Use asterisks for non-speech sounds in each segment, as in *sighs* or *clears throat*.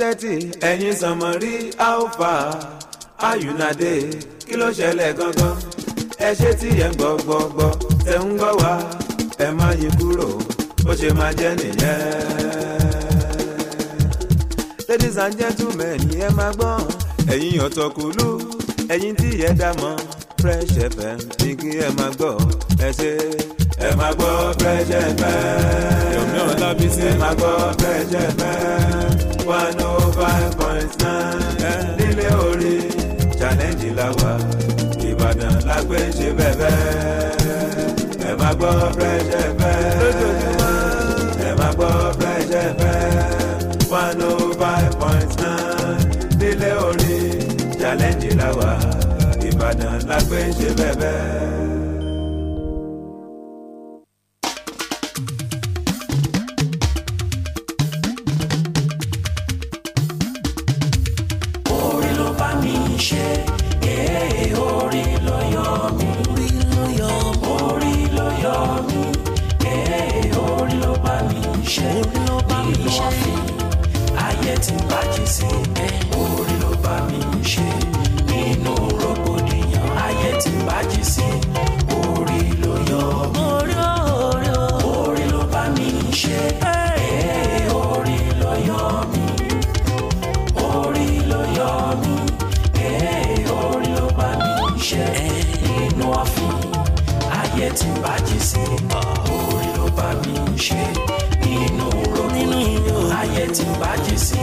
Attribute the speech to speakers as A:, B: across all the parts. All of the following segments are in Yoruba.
A: tẹ́tì ẹ̀yin sànmọ́rí alpha ayùnádé kí ló ṣẹlẹ̀ gangan ẹ ṣe tí ẹ ń gbọ́ gbọ́ gbọ́ ẹ ń gbọ́ wá ẹ má yí kúrò bó ṣe máa jẹ́ nìyẹn. ladies and gentlemen ẹ máa gbọ́n ẹ̀yin ọ̀tọ̀kùlú ẹ̀yin tí ẹ dá mọ́ fresh fm ní kí ẹ máa gbọ́ ẹ ṣe ẹ máa gbọ́ fresh fm
B: Yomi Olabisi.
A: ẹ máa gbọ́ fresh fm one oh five point nine nílé orí challenge la wà ìbàdàn la gbé ṣe bẹ́ẹ̀ ẹ máa gbọ́ fresh fm lójoojúmọ́ ẹ máa gbọ́ fresh fm one oh five point nine nílé orí challenge la wà ìbàdàn la gbé ṣe bẹ́ẹ̀.
C: orin ló bá mi ṣe ee orin ló yọ mí orin ló yọ mí orin ló yọ mí ee orin ló bá mi ṣe orin ló bá mi ṣe ayé tí ń bàjẹ́ sí orin ló bá mi ṣe nínú rògbòdìyàn ayé tí ń bàjẹ́ sí orin ló yọ mí orin orin orin ló bá mi ṣe ee orin ló yọ mí orí ló yọ mí ee orí ló bá mi ṣe inú ọ̀fìn ayé tí ń bàjẹ́ sí orí ló bá mi ṣe inú rògbòdìyàn ayé tí ń bàjẹ́ sí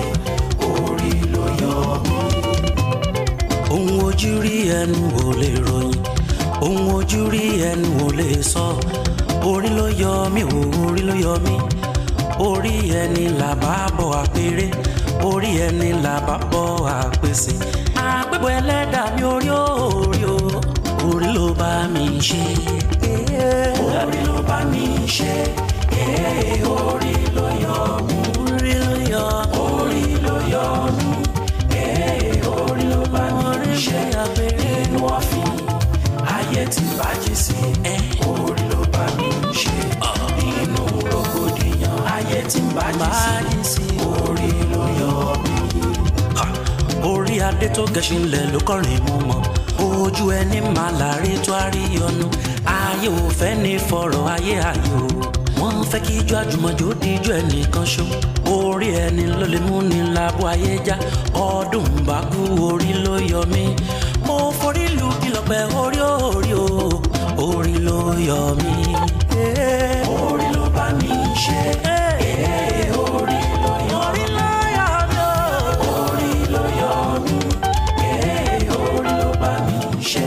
C: orí ló yọ mí. ohun ojú rí ẹnu wò lè ròyìn ohun ojú rí ẹnu wò lè sọ orí ló yọ mí wò orí ló yọ mí orí ẹni là bá bọ̀ àpèrè orí ẹni là bá bọ̀ àpèsè àpébọ̀ ẹlẹ́dàá mi orí orí o orí ló bá mi ṣe orí ló bá mi ṣe ee orí ló yọ mí orí ló yọ orí ló yọ mí ee orí ló bá mi ṣe inú ọ̀fìn ayé ti bàjẹ́ sí orí ló bá mi ṣe inú rògbòdìyàn ayé ti bàjẹ́ sí orí ló yọ mí. orí adé tó gẹṣin lẹ ló kọrin mú mọ ojú ẹni máa láre tó a rí ọnu ayé ò fẹ́ ní fọ̀rọ̀ ayé ayé o wọ́n fẹ́ kí ijó àjùmọ̀jó di ijó ẹnìkan ṣó orí ẹni ló lè mú ni lábọ́ ayé já ọdún bá kú orí ló yọ mí mo forí lu ìlọ̀pẹ̀ orí orí o orí ló yọ mí. orí ló bá mi ṣe orí ló yọ mí orí ló yọ mí ee orí ló bá mi ṣe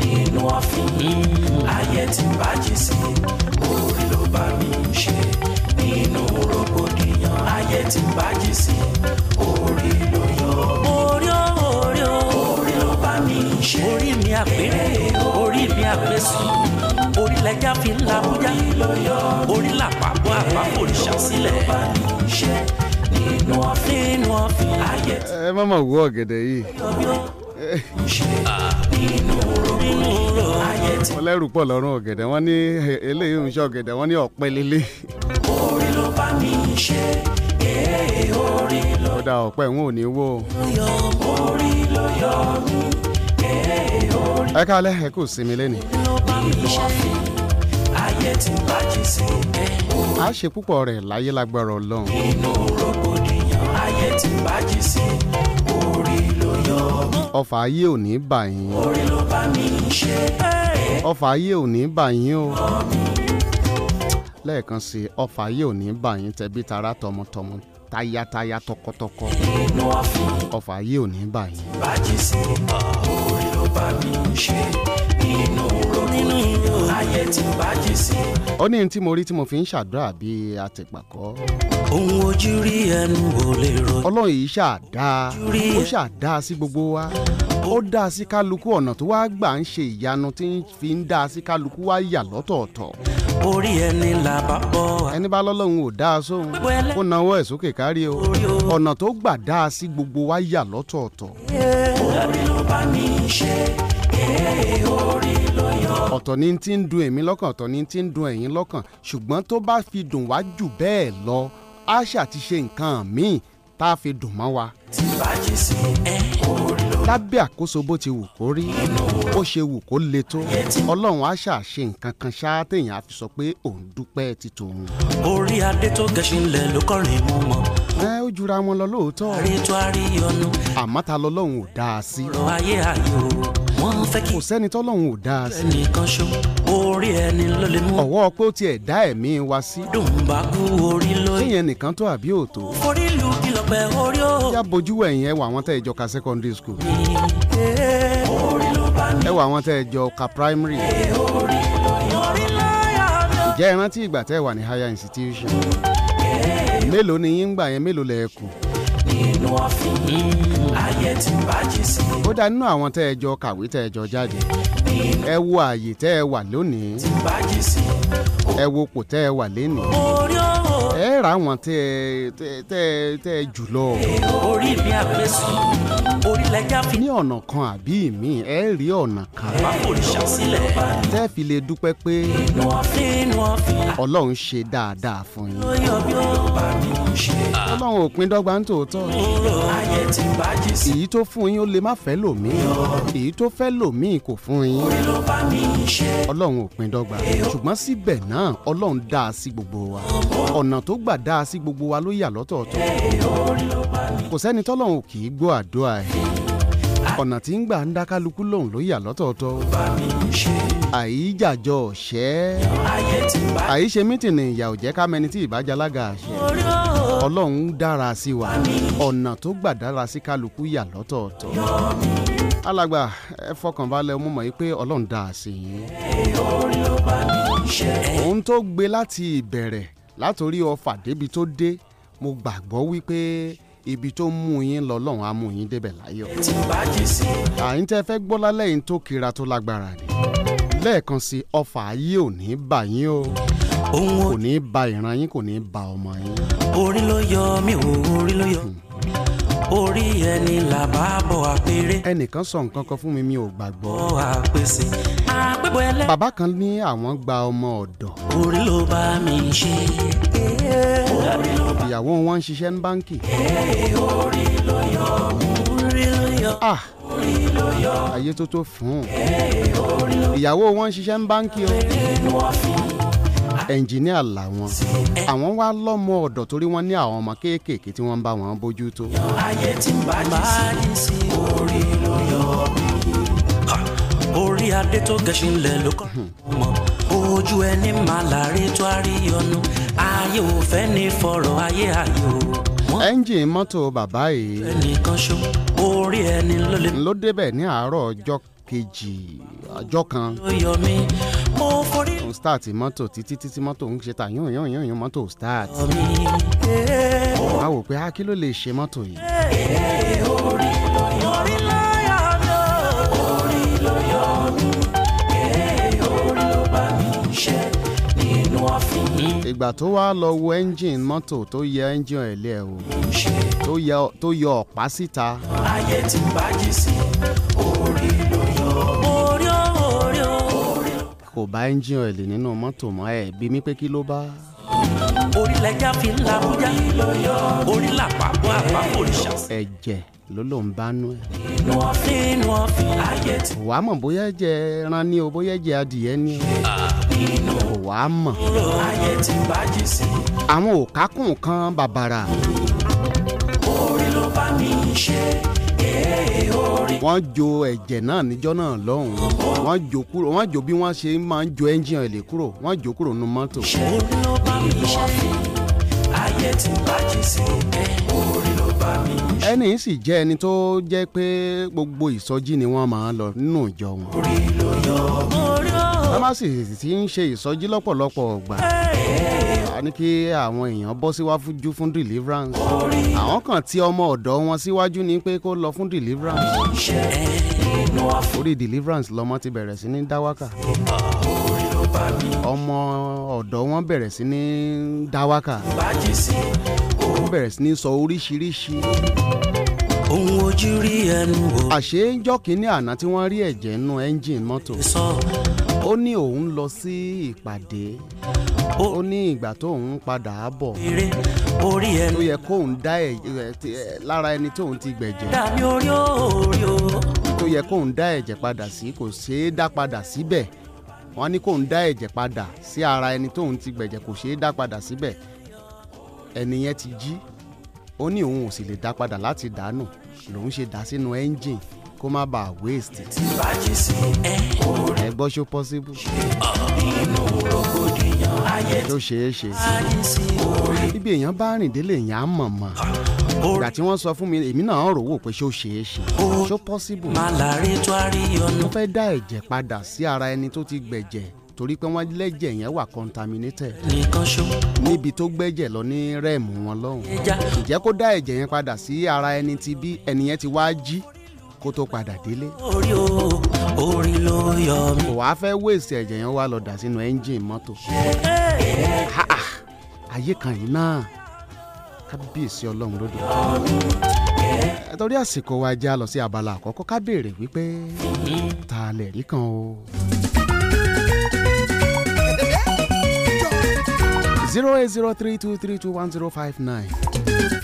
C: nínú ọ̀fìn ayé tí ń bàjẹ́ sí orí ló bá mi ṣe nínú rògbòdìyàn ayé tí ń bàjẹ́ sí orí ló yọ mí orí orí orí ló bá mi ṣe orí mi àpérè orí mi àpèsè orí lẹjà fi ń la bújá orí làpapọ̀ àpapọ̀ òrìṣà sílẹ̀ nínú ọ̀fìn nínú ọ̀fìn ayé tí
D: ẹ má mà wú ọ̀gẹ̀dẹ̀ yìí wọ́n lẹ́rù pọ̀ lọ́rùn ọ̀gẹ̀dẹ̀ wọ́n ní eh, eléyìí ń ṣe ọ̀gẹ̀dẹ̀ wọ́n ní ọ̀pẹ lélẹ̀
C: orí ló bá mi ṣe ee orí ló
D: ó da ọ̀pẹ wọn ò ní wó o.
C: yọ orí ló yọ mí ee orí
D: ẹ kálẹ̀ ẹ kò sinmi lẹ́nu.
C: ló bá mi ṣe Eh. ayé tí bàjẹ́ sí
D: a ṣe púpọ̀ rẹ̀ láyé lágbára ọlọ́run.
C: inú rògbòdìyàn ayé tí bàjẹ́ sí orí ló yọ mí
D: ọfà ayé ò ní bà yín
C: orí ló bá mi ṣe ee
D: ọfà ayé ò ní bà yín o. lẹ́ẹ̀kan sí i ọfà ayé ò ní bà yín tẹbí tará tọmọtọmọ tayátayá tọkọtọkọ
C: inú ọ̀fìn.
D: ọfà ayé ò ní bà yín.
C: bàjẹ́ sí orí ló bá mi ṣe inú rògbòdìyàn ayé tí bàjẹ́ sí.
D: ó ní ní tí mo rí tí mo fi ń ṣàdúrà bíi àtìpàkọ́.
C: ohun ojú rí ẹnu wò lè rò
D: ọlọ́run yìí ṣàdá ó ṣàdá sí gbogbo wa ó dá sí kálukú ọ̀nà tó wá gbà ń ṣe ìyanu tí ń fi ń dá sí kálukú wá yà lọ́tọ̀ọ̀tọ̀
C: orí ẹni là bá bọ́
D: ẹni bá lọ́lọ́run ò dá a sóhun kó nawọ́ ẹ̀ sókè kárí o ọ̀nà tó gbà dá a sí gbogbo wa yà lọ́tọ̀ọ̀tọ̀
C: orí ló bá mi ṣe ee orí ló yọ
D: ọ̀tọ̀ ni ti ń dùn èmi lọ́kàn ọ̀tọ̀ ni ti ń dùn ẹ̀yin lọ́kàn ṣùgbọ́n tó bá fi dùn wá jù bẹ́ẹ̀ lọ àṣà ti ṣe nǹkan míì tá a fi dùn mọ́ wa
C: tí bá jí sí ẹ orí ló
D: lábẹ́ àkóso bó ti wù kó rí bó ṣe wù kó le tó ọlọ́run á ṣàṣe nǹkan kan ṣáá téèyàn á fi sọ pé òun dúpẹ́ ti tòun.
C: orí adé tó gẹṣin lẹ ló kọrin mú mọ
D: ẹ ó jura wọn lọ lóòótọ́
C: àrí tó àrí ọnu
D: àmọ́ ta lọ́lọ́run ò dáa sí
C: ọ̀rọ̀ ayé ayò wọn fẹ́ kí
D: kò sẹ́ni tọ́lọ́run ò dáa sí
C: ẹnìkan ṣó orí ẹni ló lè mú
D: ọ̀wọ́ pé ó tiẹ̀ dá ẹ̀mí wa sí
C: dùn bá kú orí ló yẹ
D: téèyàn nìkan tó àbí òtó
C: orí lu kìlọpẹ orí ó
D: yá bojú ẹ̀yìn ẹ wà wọ́n tẹ́ ẹ jọ ka secondary school
C: mi orí ló bá mi
D: ẹ wà wọ́n tẹ́ ẹ jọ ka primary
C: orí ló yọ orí ló yọ mi ó
D: jẹ́ ẹ rántí ìgbà tẹ́ ẹ wà ní higher institution mélòó ni yín gbà yẹn mélòó lẹ kù
C: nínú ọ̀fìn ayé tí bá jí sí
D: ó dá nínú àwọn tẹ́ ẹ jọ kàwé tẹ́ ẹ jọ jáde ẹ wo ààyè tẹ́ ẹ wà lónìí
C: tí bá jí sí
D: ẹ wo kò tẹ́ ẹ wà lénìí
C: orí ó
D: ẹ rà àwọn tẹ́ ẹ tẹ́- tẹ́ ẹ- tẹ́ ẹ jù lọ
C: orí mi àgbẹ̀sùn orí lẹ́jà fi
D: ní ọ̀nà kan àbí ìmíì ẹ rí ọ̀nà kan
C: má fòrìṣà sílẹ̀
D: tẹ́ ẹ fi lè dúpẹ́ pé
C: nínú ọ̀fìn nínú ọ̀fìn
D: ọlọ́run ṣe dáadáa fún yín
C: ló yọ bí ó bá mi ṣe
D: ọlọ́run ò pín dọ́gba ń tòótọ́
C: kúrò ayé tí bá jí sí
D: èyí tó fún yín ó lè má fẹ́ lòmíì èyí tó fẹ́ lòmíì kò fún yín
C: orí ló bá mi ṣe
D: ọlọ́run ò pín dọ́gba ṣùgbọ́n síbẹ̀ náà ọlọ́run dá a sí gbogbo wa ọ̀nà tó gbà dá a sí gbogbo wa ló yà lọ́tọ̀ọ̀tọ̀ kò sẹ́ni tọ́lọ́run kì í gbọ́ àdúrà ẹ̀ ọ̀nà tí ń gbà ń dá kálukú lòun ló yà lọ́tọ̀ọ̀tọ̀ àyíjàjọ ọ̀ṣẹ́ àyíṣe mítìnì ìyà ò jẹ́ ká mẹni tí ìbájalága àṣẹ ọlọ́run dára sí wa ọ̀nà tó gbà dára sí kálukú yà lọ́tọ̀ọ̀tọ̀ alàgbà ẹ fọkàn balẹ̀ mo mọ̀ yí pé ọlọ́run dá a sí yín òun tó gbé láti ìbẹ̀rẹ̀ látòrí ọfà débi tó dé mo gbàgbọ́ wípé ibi tó mú yín lọ lọ́run á mú yín débẹ̀ láyọ̀
C: tí bá jí sí
D: àyín tẹ́ fẹ́ gbọ́ lálẹ́ yìí tó kira tó lágbára ni lẹ́ẹ̀kan sí ọfà ayé ò ní bà yín o
C: ohun
D: kò ní ba ìran yín kò ní ba ọmọ yín
C: orí ló yọ mí ò orí ló yọ orí ẹni làbá bọ̀ àpèrè
D: ẹnìkan sọ nǹkan kan fún mi mi ò gbàgbọ́
C: bọ̀ àpèsè àpébọ̀ ẹlẹ́
D: bàbá kan ní àwọn gba ọmọ ọ̀dọ̀
C: orí ló bá mi ṣe orí ló
D: ìyàwó wọn ń ṣiṣẹ́ ní báńkì
C: orí ló yọ
D: ah ayé tó tó fún un ìyàwó wọn ń ṣiṣẹ́ ní báńkì o ẹnjìníà làwọn àwọn wá lọ́mọ ọ̀dọ̀ torí wọ́n ní àwọn ọmọ kéékèèké tí wọ́n ń bá wọn bójú tó
C: ayé tí ń bá jí sí orí ló yọ Ha! orí adé tó gẹṣin lẹ ló kọ mọ ojú ẹni máa láre tó a rí ọnu ayé ò fẹ́ ní fọ̀rọ̀ ayé ayò wọ́n
D: ẹ́ńjìn mọ́tò bàbá yìí
C: ẹnìkan ṣó orí ẹni ló lè
D: ló débẹ̀ ní àárọ̀ ọjọ́ kejì ọjọ́ kan
C: ló yọ mí mo forí
D: kò start mọ́tò títí títí mọ́tò ń ṣe ta yún yún yún yún mọ́tò ò start
C: lọ mí
D: wọ́n á wò pé ah kí ló lè ṣe mọ́tò yìí
C: orí ló yọ mí o orí ló yọ mí ee orí ló bá mi ṣe nínú ọ̀fìn
D: ìgbà tó wá lọ wo ẹ́ńjìn mọ́tò tó yẹ ẹ́ńjìn ẹ̀lẹ́ ẹ̀ wò
C: ṣe
D: tó yọ tó yọ ọ̀pá síta
C: ayé tí ń bá jí sí orí ló yọ mí orí ó orí ó
D: kò bá ẹ́ńjìn ẹ̀lẹ́ nínú mọ́tò mọ́ ẹ̀ bí mi pé kí ló bá
C: orí lẹjà fi ń la bújá orí làpapọ̀ àpapọ̀ òrìṣà
D: ẹ̀jẹ̀ ló ló ń bá nú ẹ̀
C: nínú ọ̀fìn nínú ọ̀fìn ayé tí
D: kò wá mọ̀ bóyá ẹ̀jẹ̀ ẹran ni o bóyá ẹ̀jẹ̀ adìyẹ ni o kò wá mọ̀
C: rò ayé tí ń bá jí sí
D: àwọn òkákùn kan bàbàrà
C: orí ló bá mi ṣe ee orí
D: wọ́n jo ẹ̀jẹ̀ náà níjọ́ náà lọ́hùn wọ́n jo kúrò wọ́n jo bí wọ́n ṣe máa ń jo ẹ́ńjìn ẹ̀lẹ́ kúrò wọ́n jo kúrò nínú mọ́tò
C: ṣe orí ló bá mi ṣe ayé tí ń bá jí sí ee orí ló bá mi ṣe
D: ẹni yìí sì jẹ́ ẹni tó jẹ́ pé gbogbo ìsọjí ni wọ́n máa ń lọ nínú ìjọ wọn
C: orí ló yọ mí orí ó
D: tamasi ti ń ṣe ìsọjí lọ́pọ̀lọpọ̀ ọgbà a ní kí àwọn èèyàn bọ́ síwájú fún deliverance àwọn kan ti ọmọ ọ̀dọ́ wọn síwájú ni pé kó lọ fún deliverance
C: ṣe ee nínú ọ̀fìn
D: orí deliverance lọmọ ti bẹ̀rẹ̀ sí ní dáwákà
C: orí ló bá mi
D: ọmọ ọ̀dọ́ wọn bẹ̀rẹ̀ sí ní dáwákà
C: bá jí sí
D: wọ́n bẹ̀rẹ̀ sí ní sọ oríṣiríṣi
C: ohun ojú rí ẹnu wò
D: àṣé ńjọ́ kínní àná tí wọ́n rí ẹ̀jẹ̀ nínú ẹ́ńjìn mọ́tò
C: sọ
D: ó ní òun lọ sí ìpàdé ó ní ìgbà tóun padà bọ̀
C: eré orí
D: tó
C: ẹni
D: yẹ kóun dá ẹ̀jẹ̀ ti- ẹ̀, lára ẹni tóun ti gbẹ̀jẹ̀
C: dàbí orí òòrì o.
D: tó yẹ kóun dá ẹ̀jẹ̀ padà sí kò ṣeé dá padà síbẹ̀ wọ́n ní kóun dá ẹ̀jẹ̀ padà sí ara ẹni tóun ti gbẹ̀jẹ̀ kò ṣeé dá padà síbẹ̀ ẹni yẹn ti jí ó ní òun ò sì lè dá padà láti dànù lòun ṣe dá sínú ẹ́ńjìn kó má bàa waste
C: tí bàjẹ́ sí ẹ orí
D: ẹ gbọ́ ṣó possible
C: inú rògbòdìyàn ayé tí
D: ló ṣeé ṣe
C: bàjẹ́ sí orí
D: ibi èèyàn bá rìn délé èèyàn á mọ̀ mọ̀ ìgbà
C: orí
D: tí wọ́n sọ fún mi èmi náà rò wò pé ṣó ṣeé ṣe ṣó possible
C: máa láre tó a rí ọ̀nà
D: mo fẹ́ dá ẹ̀jẹ̀ padà sí ara ẹni tó ti gbẹ̀jẹ̀ torí pé wọ́n lẹ́jẹ̀ yẹn wà contaminated
C: nìkan ṣó
D: níbi tó gbẹ́jẹ̀ lọ ní rẹ́ẹ̀mù wọn lọ́hùn
C: ẹja
D: ǹjẹ́ kó dá ẹ̀jẹ̀ yẹn padà sí ara ẹni tí bí ẹni yẹn ti wá jí kó tó padà délé
C: orí o orí ló yọ mí.
D: kò wá fẹ́ wéèsì ẹ̀jẹ̀ yẹn wá lọ dà sínú ẹ́ńjìn mọ́tò Ha, ah. ayé kan yìí náà kábíyèsí ọlọ́run lóde Eh, torí àsìkò wa já lọ sí abala àkọ́kọ́ ká béèrè wípé ta lè rí kan o. zero eight zero three two three two one zero five nine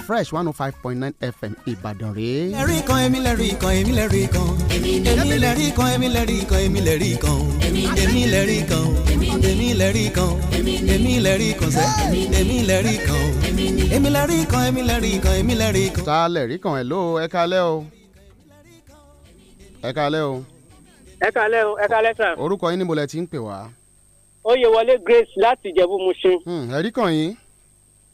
D: fresh one oh five point nine fm ìbàdàn rèé.
B: lẹ́rìí kan èmi lẹ́rìí kan èmi lẹ́rìí kan èmi lẹ́rìí kan èmi lẹ́rìí kan èmi lẹ́rìí kan èmi lẹ́rìí kan èmi lẹ́rìí kan èmi lẹ́rìí kan sẹ́ èmi lẹ́rìí kan èmi lẹ́rìí kan èmi lẹ́rìí kan èmi lẹ́rìí kan.
D: ta lè rí kan ẹ̀ ló ẹ kalẹ́ o ẹ kalẹ́ o
E: ẹ kalẹ o ẹ kalẹ sàn
D: orúkọ yín níbo lẹ ti ń pè wá.
E: oyè wọlé grace láti ìjẹ̀bú muṣin
D: Hmm, ẹ rí kan yín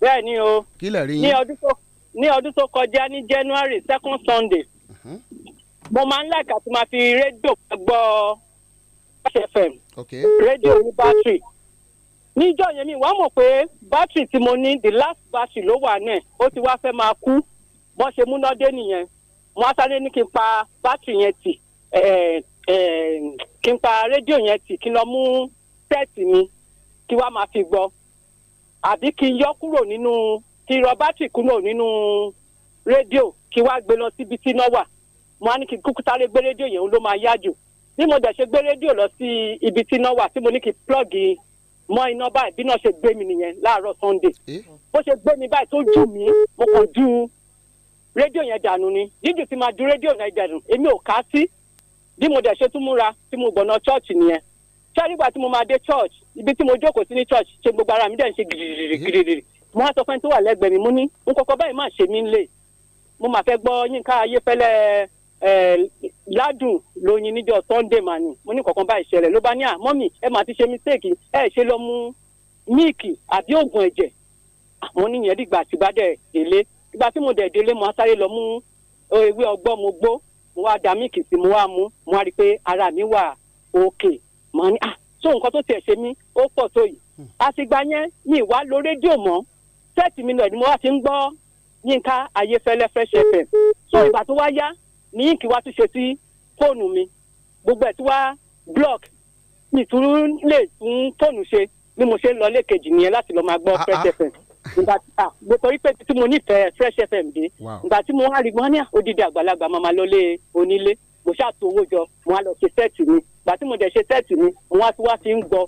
E: bẹ́ẹ̀ ni o
D: kí lè rí
E: ní
D: yín.
E: ọdún tó ní ọdún tó kọjá ní january second sunday
D: Mhm.
E: mo máa ń láìka tí máa fi rédíò gbọ́ Fresh fm
D: ok
E: rédíò ní bátìrì níjọ́ yẹn mi wàá mọ̀ pé bátìrì tí mo ní the last bátìrì ló wà náà ó ti wá fẹ́ máa kú bọ́n ṣe múná dé nìyẹn mo á sáré ní kí n pa bátìrì yẹn tì eh, eh, kí n pa rédíò yẹn tì kí n lọ mú sẹ́ẹ̀tì mi kí wàá máa fi gbọ́ àbí kí n yọ kúrò nínú kí n rọ bátìrì kúrò nínú rédíò kí wàá gbé lọ síbi tí iná wà mo á ní kí n kúkú sáré gbé rédíò yẹn òun ló máa yá jù bí mo dẹ̀ ṣe gbé rédíò lọ sí ibi tí iná wà tí mo ní kí plọ́ọ̀gì mọ́ iná báyìí bí náà ṣe gbé mi nìyẹn láàárọ̀ sunday
D: Eh?
E: bó ṣe gbé mi báyìí tó jù mí mo kàn ju rédíò yẹn dànù ni jíjù ti máa ju rédíò yẹn dànù èmi ò ká sí bí mo dẹ̀ ṣe tún múra tí mo gbọ̀nà church nìyẹn ṣẹ́rígbà tí mo máa dé church ibi tí mo jókòó sí ní church ṣe gbogbo ara mi dẹ̀ ń ṣe gìrìgìrì mo wá sọ fẹ́ni tó wà lẹ́gbẹ̀ẹ́ mi mo ní n kọ́kọ́ báyìí má ṣe mí ń lè mo máa fẹ́ gbọ́ yínká ayéfẹ́lẹ́ ẹ̀ ládùn lóyin níjọ́ sunday mà ní mo ní kọ̀ọ̀kan báyìí ṣẹlẹ̀ ló bá ní à mọ́mì ẹ máa ti ṣe mistake ẹ ṣe lọ mú míìkì àbí oògùn ẹ̀jẹ̀ àwọn oníyẹn dìgbà tí bá dẹ̀ délé ìgbà tí mo dẹ̀ délé mo á sáré lọ mú ewé ọgbọ́n mo gbó mo wá da míìkì sí mo wá mú mo wá rí i pé ara mi wà òkè mo ní à so nǹkan tó tiẹ̀ ṣe mí ó pọ̀ tó yìí
D: Hmm.
E: àtìgbà yẹn mi ì wá lo rédíò mọ́ sẹ́ẹ̀tì mi lọ ni mo wá ti ń gbọ́ yínká ayéfẹ́lẹ́ fresh fm so ìgbà tó wá yá ní yínkì wá tún ṣe sí fóònù mi gbogbo ẹ̀ tí wá block mi tún lè tún fóònù ṣe bí mo ṣe ń lọ lẹ́ẹ̀kejì nìyẹn láti lọ máa gbọ́
D: Ah,
E: fresh
D: ah.
E: fm ìgbà tí ah mo torí pé tí mo nífẹ̀ẹ́ fresh fm dé
D: Wow.
E: ìgbà tí mo wá rí gbọ́n ní à, odidi àgbàlagbà máa máa lọlé onílé mo ṣàtò owó jọ mo wá lọ ṣe sẹ́ẹ̀tì mi ìgbà tí mo dẹ̀ ṣe sẹ́ẹ̀tì mi mo wá tí wá ti ń gbọ́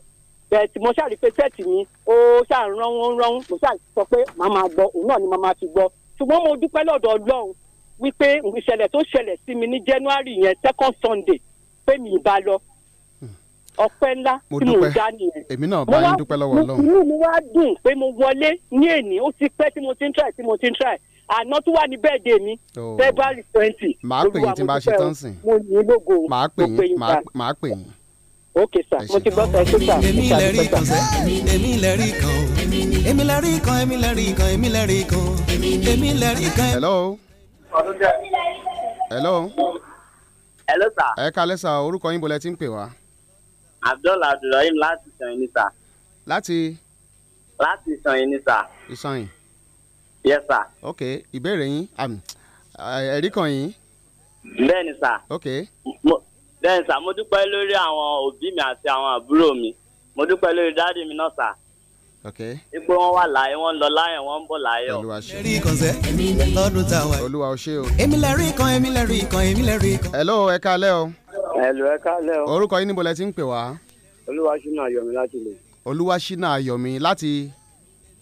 E: bẹ́ẹ̀ tí mo ṣàrí pé sẹ́ẹ̀tì mi ó ṣàrànwọ́n ránwọ́n mo ṣàrí sọ pé màá máa gbọ́ òun náà ni màá máa fi gbọ́ ṣùgbọ́n mo dúpẹ́ lọ́dọ̀ ọlọ́run wípé ìṣẹ̀lẹ̀ tó ṣẹlẹ̀ sí mi ní january yẹn second sunday pé mi ì bá lọ ọpẹ́ ńlá
D: Hmm. Mo
E: tí mo
D: dúpẹ́.
E: dá nìyẹn
D: èmi náà
E: mo
D: bá yín
E: wá-
D: dúpẹ́ lọ́wọ́
E: mo-
D: ọlọ́run
E: inú mi wá dùn pé mo wọlé ní èní ó ti pẹ́ tí mo ti ń try tí mo ti ń try àná tó wà ní bẹ́ẹ̀dé mi
D: Oh.
E: february twenty.
D: Màá pè yín tí n bá ṣe tán sìn.
E: mo yìn ín lógo o.
D: màá pè
E: Mo
D: yín
E: sir.
D: màá- màá pè yín.
E: ok sir
D: Ẹ
E: mo
D: ṣé.
E: ti gbọ́ sir ẹ ṣé sir
B: èmi
E: Ẹ ṣé, ẹ
B: lẹ́rìí
E: ṣé,
B: kan
E: sir.
B: sẹ́ èmi lẹ́rìí kan èmi lẹ́rìí kan èmi lẹ́rìí kan èmi lẹ́rìí kan èmi lẹ́rìí kan.
D: hello hello
F: Hello, sir.
D: ẹ kalẹ́ sa orúkọ yín bo lẹ ti ń pè wá
F: Abdullah Abdulrahim láti Ìṣànyìn ni, sir.
D: láti
F: Láti Ìṣànyìn ni, sir.
D: ìsanyìn
F: Yes, sir.
D: ok ìbéèrè yín um, ẹ rí kan yín
F: Bẹ́ẹ̀ni, sir.
D: ok
F: Mo- Bẹ́ẹ̀ni, sir. Mo dúpẹ́ lórí àwọn òbí mi àti àwọn àbúrò mi. Mo dúpẹ́ lórí dáàdì mi náà, sir.
D: ok
F: Ipò wọn wà láyé, wọ́n ń lọ láyọ̀, wọ́n ń bọ̀ láyọ̀.
D: Eh? olúwa ṣe
B: lẹ́rìí kan sẹ́ lọ́dún tá a wà. yìí.
D: olúwa ó ṣe o
B: èmi lẹ́rìí kan èmi lẹ́rìí kan èmi lẹ́rìí kan.
D: hello ẹ kalẹ́ o
F: Ẹ̀lú ẹ kálẹ̀
D: orúkọ yín níbo lẹ ti ń pè wá
F: olúwaṣínà ayọ̀mí láti lè
D: olúwaṣínà ayọ̀mí láti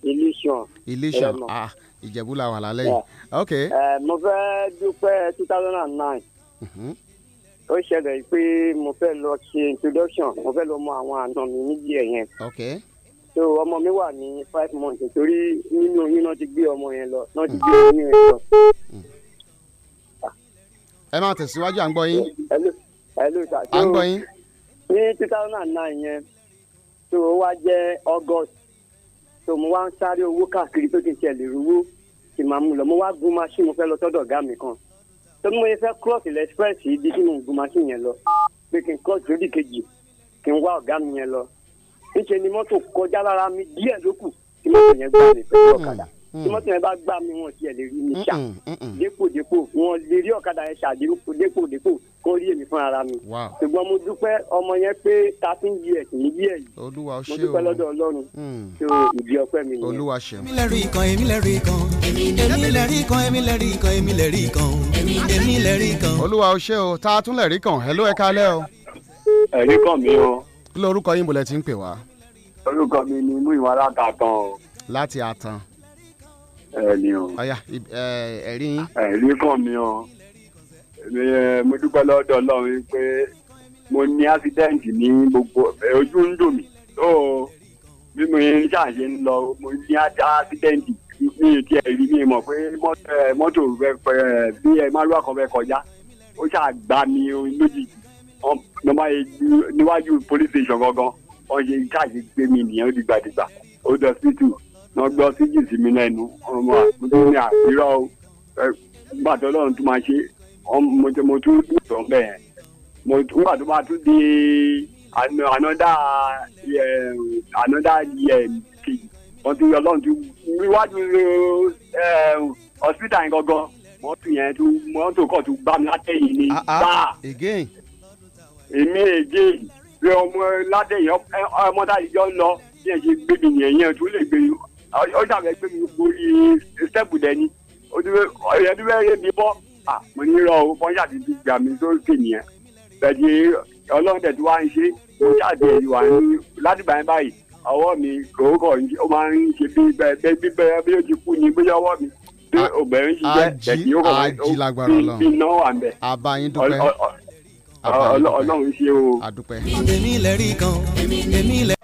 F: ilé sùn.
D: iléṣàn
F: Ẹlẹ́mọ̀.
D: ah ìjẹ̀bú la wà lálẹ́ yìí ok
F: ẹ mo fẹ́ dúpẹ́ two thousand and nine
D: mhm,
F: ó ṣẹlẹ̀ pé mo fẹ́ lọ ṣe introduction mo fẹ́ lọ mọ àwọn àna mi níbi ẹ̀ yẹn
D: ok
F: so ọmọ mi wà ní five months torí nínú oyún náà ti gbé ọmọ yẹn lọ náà ti gbé oyún yẹn lọ.
D: ẹ máa tẹ̀síwájú à ń gbọ́ yín
F: hello hello sir.
D: à ń gbọ́ yín
F: ní two thousand and nine yẹn so ó wá jẹ́ august so mo wá ń sáré owó káàkiri tó ti ń ṣẹlẹ̀ rówó tí màá mú lọ mo wá gun machine mo fẹ́ lọ sọ́dọ̀ ọ̀gá mi kan tó ní mo yẹ fẹ́ cross ilẹ̀ express yìí di kí mo gun machine yẹn lọ pé kí n cross lódì kejì kí n wá ọ̀gá mi yẹn lọ níṣẹ́ ni mọ́tò kọjá lára mi díẹ̀ lókù tí mọ́tò yẹn gbá mi pẹ̀lú ọ̀kadà
D: Mm, mm.
F: tí mọ́tò yẹn bá gbá mi wọn tiẹ̀ lè rí mi ṣá
D: Mm, mm, mm.
F: dépòdépò wọn lè rí ọ̀kadà yẹn ṣá dépòdépò kó rí èmi fúnra ra mi
D: wow
F: ṣùgbọ́n mo dúpẹ́ ọmọ yẹn pé thirteen years níbí ẹ̀ yìí
D: olúwa ó
F: mo
D: ṣé
F: dúpẹ́
D: o
F: lọ́dọ̀ ọlọ́run
D: Mm,
F: tó ìdí ọpẹ́ mi nìyẹn.
D: olúwa ṣeun
B: èmi lẹ́rìí kan èmi lẹ́rìí kan èmi lẹ́rìí kan èmi lẹ́rìí kan èmi lẹ́rìí kan èmi lẹ́rìí kan.
D: olúwa ó ṣé o tá a tún lè rí kàn hello ẹ kálẹ́ o
G: ẹ̀rí kàn mí o
D: kí lorúkọ yín bọ̀lẹ̀ tí ń pè wá
G: orúkọ mi ni mú ìwà aláta kan o
D: láti àtàn
G: ẹ ní o
D: ọ̀yà ib- ẹ- ẹ̀rí yín
G: ẹ̀rí kàn mí o Èmi, ẹ, mo dúpẹ́ lọ́dọ̀ ọlọ́run pé mo ní ásídẹ́ǹtì ní gbogbo ẹ, ojú ń dùn mí tó bí mo ń ṣàṣe ń lọ mo ní ásídẹ́ǹtì mi ì tiẹ̀ rí mi mọ̀ pé mọ́tò ẹ, mọ́tò rẹ pẹ́ ẹ, bí ẹ márùwá kan fẹ́ kọjá ó ṣàgbá mi o lójijì Wọ́n- mo máa ye ju- níwájú police station gangan wọ́n ṣe ṣàṣe gbé mi nìyẹn ó dìgbàdìgbà ó dọ̀ síìtù wọ́n gbọ́ síjì sí mi lẹ́nu ọmọ àtúntò ní àpérò gbàtọ́ lọ́run tún máa ṣe ọm- mo tẹ- mo tún sọ bẹ́ẹ̀ yẹn. mo tún gbà tó máa tún di ano- anoda ẹ, anoda yẹ kejì wọ́n tún ọlọ́run tún níwájú ẹ, hospital yẹn gangan mọ́tò yẹn tún mọ́tò kọ̀ tún gbá mi látẹ̀yìn ní
D: Ah, ah.
G: gbáà
D: again
G: èmi èdè pé ọmọ ládé yẹn ọmọ táyì jọ ń lọ bí ẹ ṣe gbé mi yẹn yẹn tó lè gbé mi ó dàbẹ gbé mi borí sẹ́ẹ̀pù dẹ́ni ó ti fẹ́ ọ̀yẹ́ ti fẹ́ yé mi bọ́ à mo ní rọ o fọ́nṣà ti ti gbà mí sókè nìyẹn bẹ̀ẹ̀ni ọlọ́run tẹ̀ tí wàá ń ṣe mo jáde ìwà ní ládùúgbà yẹn báyìí ọwọ́ mi kò kọ̀ ń ṣe- ó máa ń ṣe bí bẹ́ẹ̀ bí bẹ́ẹ̀ bí ó ti kú ni bóyá ọwọ́ mi bí
D: A-
G: obìnrin ṣiṣẹ́
D: ají-
G: bẹ̀ẹ̀ni ó kọ̀ máa ń
D: ají lágbára Ọlọ́run.
G: fi náà wà ń bẹ̀
D: àbá yín
G: Ọl-
D: dúpẹ́
G: ọl- ọl-
D: àbá yín
G: ọl-
D: dúpẹ́.
G: ọlọ́run ṣe o.
D: àdúpẹ́.
B: èmi lẹ́rìí kan èmi lẹ́rìí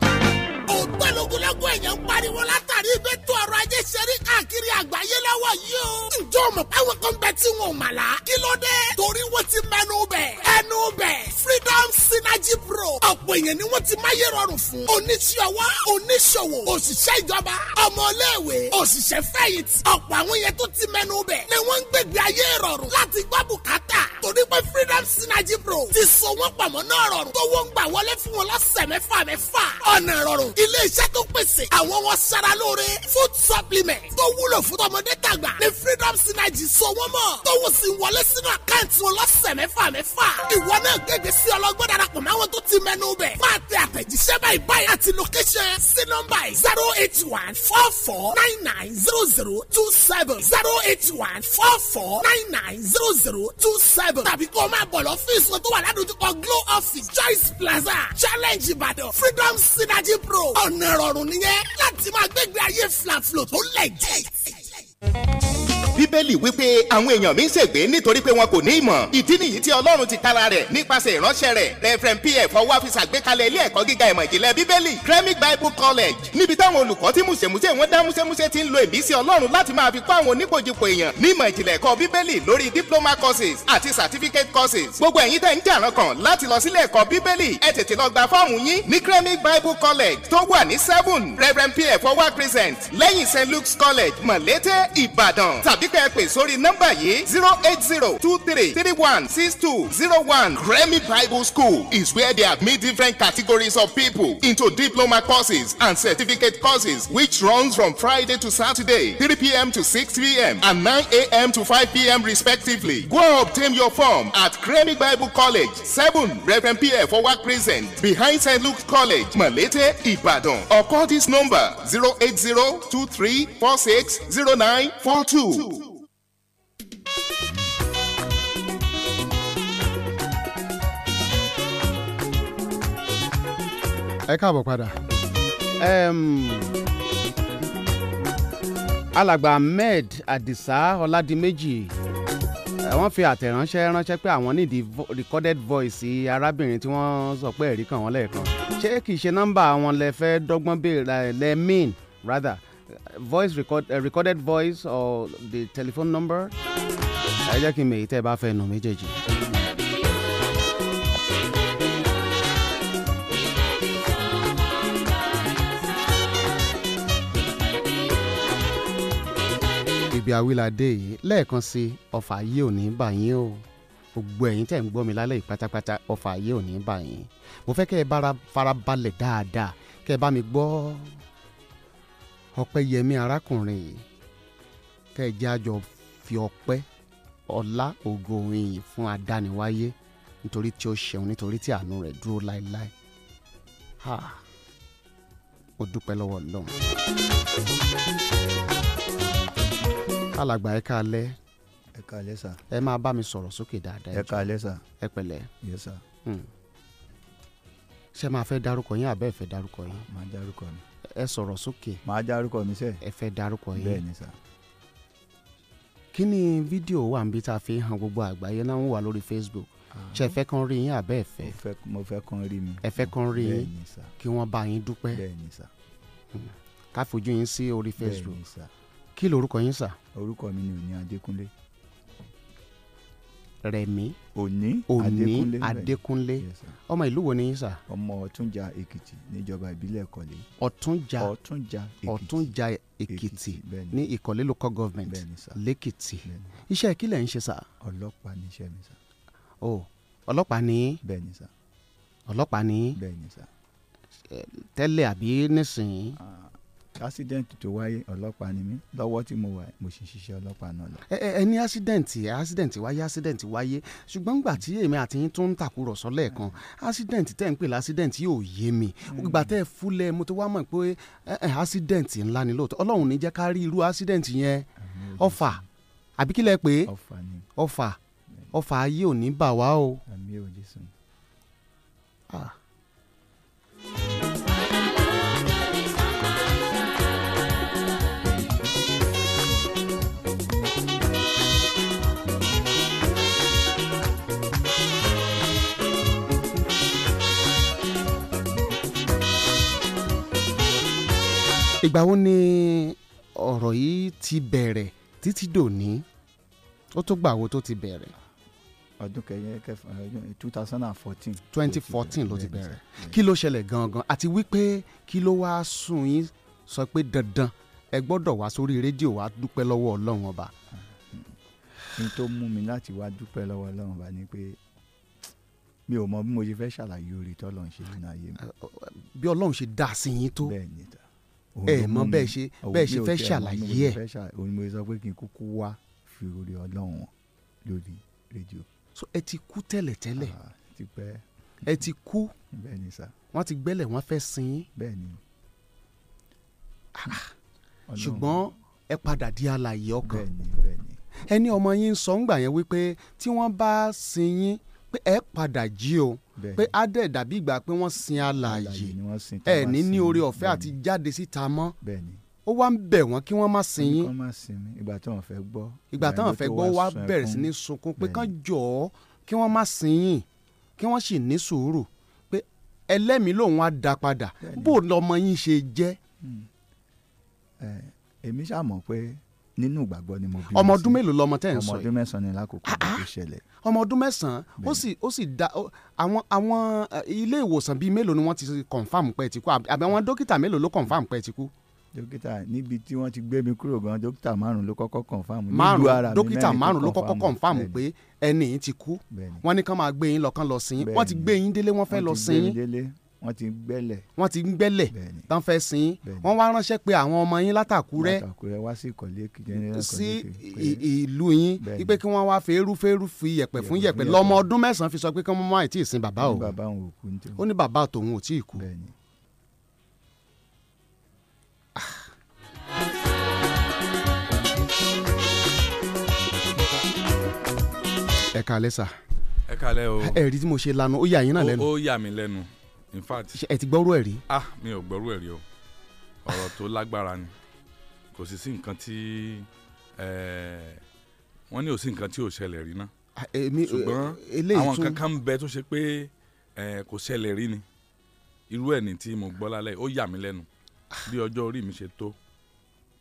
H: ògbẹ́lógúnlógún èèyàn ń pariwo látàrí ìbẹ́tò ọrọ̀ ajé ṣẹ́rí káàkiri àgbáyé lọ́wọ́ yìí o. ǹjọ́ mọ̀ báwọn kan bẹ tí wọn ò mà lá. kí ló dé? torí wọ́n ti mẹ́nu bẹ̀. ẹnu bẹ̀. freedom synergy pro. ọ̀pọ̀ èèyàn ni wọ́n ti máyé rọrùn fún. oníṣẹ́ ọwọ́ oníṣòwò òṣìṣẹ́ ìjọba ọmọléèwé òṣìṣẹ́ fẹ̀yìntì. ọ̀pọ̀ àwọn yẹn tó ti mẹ́nu bẹ̀ ni wọ́n ń gbègbè ayé rọrùn láti gbọ́ bùkátà. torí pé freedom synergy pro ti so wọ́n pamọ́ náà rọrùn. tó wọ́n ń gbà wọlé fún wọn lọ́sẹ̀ mẹ́fà mẹ́fà. ọ̀nà ìrọ̀rùn ilé-iṣẹ́ tó pèsè àwọn wọn sara lóore food supplement tó wúlò fún tọmọdé tàgbà ní freedom synergy so wọ́n mọ̀ tó wọ́n sì wọlé sínú àkáǹtì wọn lọ́sẹ̀ mẹ́fà mẹ́fà. ìwọ náà gègé sí ọlọ́gbọ́n darapọ̀ máwọn tó ti mẹ́nu bẹ̀. máa tẹ àtẹ̀jíṣẹ́ báyìí báyìí àti location sí nọ́mbà yìí zero eight one four four nine nine zero zero two seven zero eight one four four nine nine zero zero two seven tàbí kó o máa bọ̀ lọ́fíìsì wọn tó wà ládùúgbò glow office choice plaza challenge ìbàdàn freedom synergy pro ọ̀nà ìrọ̀rùn nìyẹn láti máa gbégbé ayé flaflo tó lẹ́jẹ̀.
I: bíbélì wípé àwọn èèyàn mi ń ṣègbé nítorí pé wọn kò ní ìmọ̀ ìdí nìyí tí ọlọ́run ti tara rẹ̀ nípasẹ̀ ìránṣẹ́ rẹ̀ reverend pf ọwọ́ àfisà gbé kalẹ̀ ilé ẹ̀kọ́ gíga ìmọ̀ ìjìnlẹ̀ bíbélì kremik bible college níbi táwọn olùkọ́ tí mùsèmùsè wọn dá múṣẹ́múṣẹ́ ti ń lo ìbísí ọlọ́run láti máa fi kọ́ àwọn onípojìpò èèyàn ní ìmọ̀ ìjìnlẹ̀ ẹ̀kọ́ bíbélì lórí diploma courses àti certificate courses gbogbo ẹ̀yin tẹ̀ ń jàrán kan láti lọ sílé ẹ̀kọ́ bíbélì ẹ tètè lọ gba fọ́ọ̀mù yín ní kremik bible college tó wà ní seven reverend pf ọwọ́ present lẹ́yìn st luke's college mọ̀lété ìbàdàn tàbí kẹ́ ẹ pè sórí nọ́mbà yìí zero eight zero two three three one six two zero one. Grammy Bible School is where they have made different categories of people into diploma courses and certificate courses which runs from Friday to Saturday, 3 p.m. to 6 p.m. and 9 a.m. to 5 p.m. respectively. Go and obtain your form at Grammy Bible College, 7 Reverend P.F. Forward Crescent, behind St. Luke's College, Malete, Ibadan. Or call this number 080 23 46 09 42.
J: Ẹ
D: ẹ káàbọ̀ padà. Em, alàgbà ahmed adisa ọládìméjì eh, wọ́n fi àtẹ̀ránṣẹ́ ránṣẹ́ pé àwọn nídìí vo- recorded voice arábìnrin tí wọ́n sọ pé ẹ̀rí kàn wọ́n lẹ́ẹ̀kan ṣé kìí ṣe nọ́mbà àwọn lẹ fẹ́ dọ́gbọ́n béèrè lẹ mean rather voice record, eh, recorded voice or the telephone number ẹ jẹ́ kí n mọ̀ èyí tẹ́ ẹ bá fẹ́ nù méjèèjì. ibi awilade yìí lẹ́ẹ̀kan sí ọ̀fà yìí ò ní bà yín o gbogbo ẹ̀yin tẹ̀ ń gbọ́ mi lálẹ́ yìí pátápátá ọ̀fà yìí ò ní bà yín mo fẹ́ kẹ́ ẹ bára farabalẹ̀ dáadáa kẹ́ ẹ bá mi gbọ́ ọpẹ́ yẹmi arákùnrin yìí kẹ́ ẹ jẹ́ àjọ fi ọpẹ́ ọlá ògo ìyìn fún adániwáyé nítorí tí ó ṣeun nítorí tí àánú rẹ̀ dúró láéláé ha mo dúpẹ́ lọ́wọ́ ọlọ́run alàgbà ẹ̀ka alẹ́
J: ẹ kàlẹ́ sà
D: ẹ máa bá mi sọ̀rọ̀ sókè dáadáa
J: ẹ kàlẹ́ sà
D: ẹ pẹ̀lẹ́
J: yẹ sà
D: Hmm. ṣé máa fẹ́ darúkọ yín àbẹ́ ẹ fẹ́ darúkọ yín
J: màá dárúkọ mi
D: ẹ sọ̀rọ̀ sókè
J: màá dárúkọ mi sẹ́
D: ẹ fẹ́ darúkọ
J: bẹ́ẹ̀
D: yín
J: ni sà
D: kí ni fídíò wà níbi tá a fi hàn gbogbo àgbáyé náà ń wà lórí facebook ṣé ẹ fẹ́ kán rí yín àbẹ́ ẹ fẹ́
J: Ah. Mo fẹ́- mo fẹ́ kán rí mi
D: ẹ fẹ́ kán rí yín
J: bẹ́ẹ̀ ni sà
D: kí wọ́n bá yín dúpẹ́ Hmm.
J: bẹ́ẹ̀ ni sà
D: ká fojú yín sí orí
J: bẹ́ẹ̀
D: facebook
J: ni sà
D: kí lorúkọ yín sà
J: orúkọ mi ni Òní Adékúnlé
D: rẹ̀mí
J: Òní
D: òní
J: Adékúnlé bẹ́ẹ̀ ni.
D: adékúnlé
J: Yes, sir.
D: ọmọ ìlú wo ni yín sà
J: ọmọ Ọ̀túnjà Èkìtì níjọba ìbílẹ̀ Ìkọ̀lé
D: ọ̀túnjà
J: Ọ̀túnjà Èkìtì
D: ọ̀túnjà èkìtì
J: bẹ́ẹ̀ ni.
D: ní ìkọ̀lé local government
J: bẹ́ẹ̀ ni sà
D: lẹ́kìtì
J: bẹ́ẹ̀ ni.
D: iṣẹ́ kí lẹ̀ ń ṣe sà
J: ọlọ́pàá níṣẹ́ mi sà
D: o ọlọ́pàá ni yín
J: bẹ́ẹ̀ ni sà
D: ọlọ́pàá ni yín
J: bẹ́ẹ̀ ni sà
D: tẹ́lẹ̀ àbí nísìnyí
J: accident tó wáyé ọlọ́pàá ni mí lọ́wọ́ tí mo wà mo sì ń ṣiṣẹ́ ọlọ́pàá náà lọ.
D: ẹ ẹ ẹ ní accident accident wáyé accident wáyé ṣùgbọ́n gbà tí èmi àti yín tún ń tàkúrọ̀sọ lẹ́ẹ̀kan accident tẹ́ ń pè lá accident yóò yé mi gbà tẹ́ ẹ fúlẹ̀ mo ti wá mọ̀ pé ẹ ẹ accident ńlá ni lóòótọ́ ọlọ́run ní jẹ́ ká rí irú accident yẹn ọfà àbí kílẹ̀ pé
J: ọfà ni
D: ọfà ọfà ayé ò ní bà wá o.
J: àmì ò jésù
D: Ah. ìgbà wo ni ọ̀rọ̀ yìí ti bẹ̀rẹ̀ títí dòní ó tó gbà wo tó ti bẹ̀rẹ̀
J: ọdún kẹyẹ kẹfà ọdún two thousand and fourteen.
D: twenty fourteen ló ti bẹ̀rẹ̀ kí ló ṣẹlẹ̀ gangan àti wípé kí ló wáá sùn yín sọ pé dandan ẹ gbọ́dọ̀ wá sórí rédíò wá dúpẹ́ lọ́wọ́ ọlọ́run ọba
J: n tó mú mi láti wá dúpẹ́ lọ́wọ́ ọlọ́run bá ní pé mi ò mọ bí mo ṣe fẹ́ ṣàlàyé orí tọ́lọ̀ ń ṣe nínú ayé mi
D: bí ọlọ́run ṣe dá sí yín tó
J: bẹ́ẹ̀ ni ta
D: Ẹ mọ bẹ́ẹ̀ ṣe- bẹ́ẹ̀ ṣe fẹ́ ṣàlàyé ẹ̀.
J: òun ni mo sọ pé kí n kúkú wá fi orí ọlọ́run hàn lórí rédíò
D: so ẹ ti kú tẹ́lẹ̀tẹ́lẹ̀
J: Ah, ti pẹ́
D: ẹ ti kú
J: bẹ́ẹ̀ ni sà
D: wọ́n ti gbẹ́lẹ̀ wọ́n fẹ́ sin yín Ah,
J: bẹ́ẹ̀ ni. Ọlọ́run-
D: ṣùgbọ́n ẹ padà di alààyè ọkàn
J: bẹ́ẹ̀ ni bẹ́ẹ̀ ni
D: ẹni ọmọ yín ń sọ ńgbà yẹn wípé tí wọ́n bá sin yín pé ẹ padà jí o
J: bẹ́ẹ̀
D: pé
J: ni.
D: á dẹ̀ dàbí ìgbà pé wọ́n sin alààyè
J: Alààyè ni wọ́n sin tá
D: ẹ
J: a bá
D: ní ní
J: sin
D: oore
J: mí.
D: ọ̀fẹ́
J: Bẹ́ẹ̀
D: àti
J: ni.
D: jáde síta mọ́
J: bẹ́ẹ̀ ni
D: ó wá ń bẹ̀ wọ́n kí wọ́n má sin
J: wọ́n ní
D: yín
J: kán máa sin mí ìgbà táwọn fẹ́ gbọ́
D: ìgbà táwọn fẹ́ gbọ́ wá bẹ̀rẹ̀ sí ní sunkún pé kán jọ̀ ọ́ kí wọ́n má sin yín kí wọ́n sì ní sùúrù pé ẹlẹ́mìí lòun á dá padà bó lọmọ yín ṣe jẹ́
J: Hmm. èmi ṣàmọ̀ pé nínú ìgbàgbọ́ ni mo bí
D: ọmọ
J: mi
D: ọdún
J: sí.
D: mélòó lọmọ tẹ́ ń
J: ọmọ
D: sọ yìí Ah,
J: ọdún mẹ́sàn-án ni lákòókò ìgbà tó ṣẹlẹ̀
D: ọmọ ọdún mẹ́sàn-án ó sì ó sì da ó- àwọn àwọn eh, ilé ìwòsàn bíi mélòó ni wọ́n ti confam pé ẹ ti kú àbí àbí àwọn dókítà mélòó ló confam pé ẹ ti kú
J: dókítà níbi tí wọ́n ti gbé mi kúrò gan dókítà márùn ló kọ́kọ́ kọ̀nfàmù
D: márùn dókítà márùn ló kọ́kọ́ confam pé ẹni yìí ti kú
J: Bẹ́ẹ̀ni.
D: wọ́n ní kán máa gbé yín lọ kán lọ sin yín wọ́n ti
J: Bẹ́ẹ̀ni.
D: gbé yín délé wọ́n fẹ́ lọ sin yín
J: wọ́n ti gbẹ́lẹ̀
D: wọ́n ti ń gbẹ́lẹ̀
J: Bẹ́ẹ̀ni.
D: tán fẹ́ sin yín
J: Bẹ́ẹ̀ni.
D: wọ́n wá ránṣẹ́ pé àwọn ọmọ yín látàkúrẹ́
J: látàkùrẹ́ wá sí ìkọ̀lé Èkìtì general
D: sí
J: Ìkọ̀lé Èkìtì pé
D: i- i- ìlú yín
J: Bẹ́ẹ̀ni.
D: wípé kí wọ́n wá fẹ́ẹ́rú fẹ́ẹ́rú fi yẹ̀pẹ̀ fún
J: Yẹ̀pẹ̀ fún
D: yẹ̀pẹ̀
J: yẹ̀pẹ̀.
D: lọ́mọ ọdún mẹ́sàn-án fi sọ pé kí wọ́n má ì tí ì sin bàbá
J: ní
D: o
J: bàbá òun òkú ní
D: ó
J: tòun
D: ní bàbá tòun ò tí ì kú
J: bẹ́ẹ̀ni
D: ẹ̀ka alẹ́ sà Ah.
K: ẹ kalẹ o
D: ẹ̀rí tí mo ṣe lanu ó yà yín náà
K: O-
D: lẹ́nu
K: ó yà mí lẹ́nu in fact
D: Ṣé ẹ ti gbọ́rú ẹ̀ rí.
K: ah mi ò gbọ́rú ẹ̀ rí o ọ̀rọ̀ tó lágbára ni kò sì sí nǹkan tí eh, wọ́n ní ò sí nǹkan tí ò ṣẹlẹ̀ rí ná
D: èmi, eh,
K: ṣùgbọ́n
D: eléyìí
K: àwọn
D: tún-
K: nǹkan kan ń bẹ tó ṣe pé eh, kò ṣẹlẹ̀ rí ni irú ẹ̀ ní tí mo gbọ́ lálẹ́ ó yà mí lẹ́nu bí ọjọ́ orí mi ṣe tó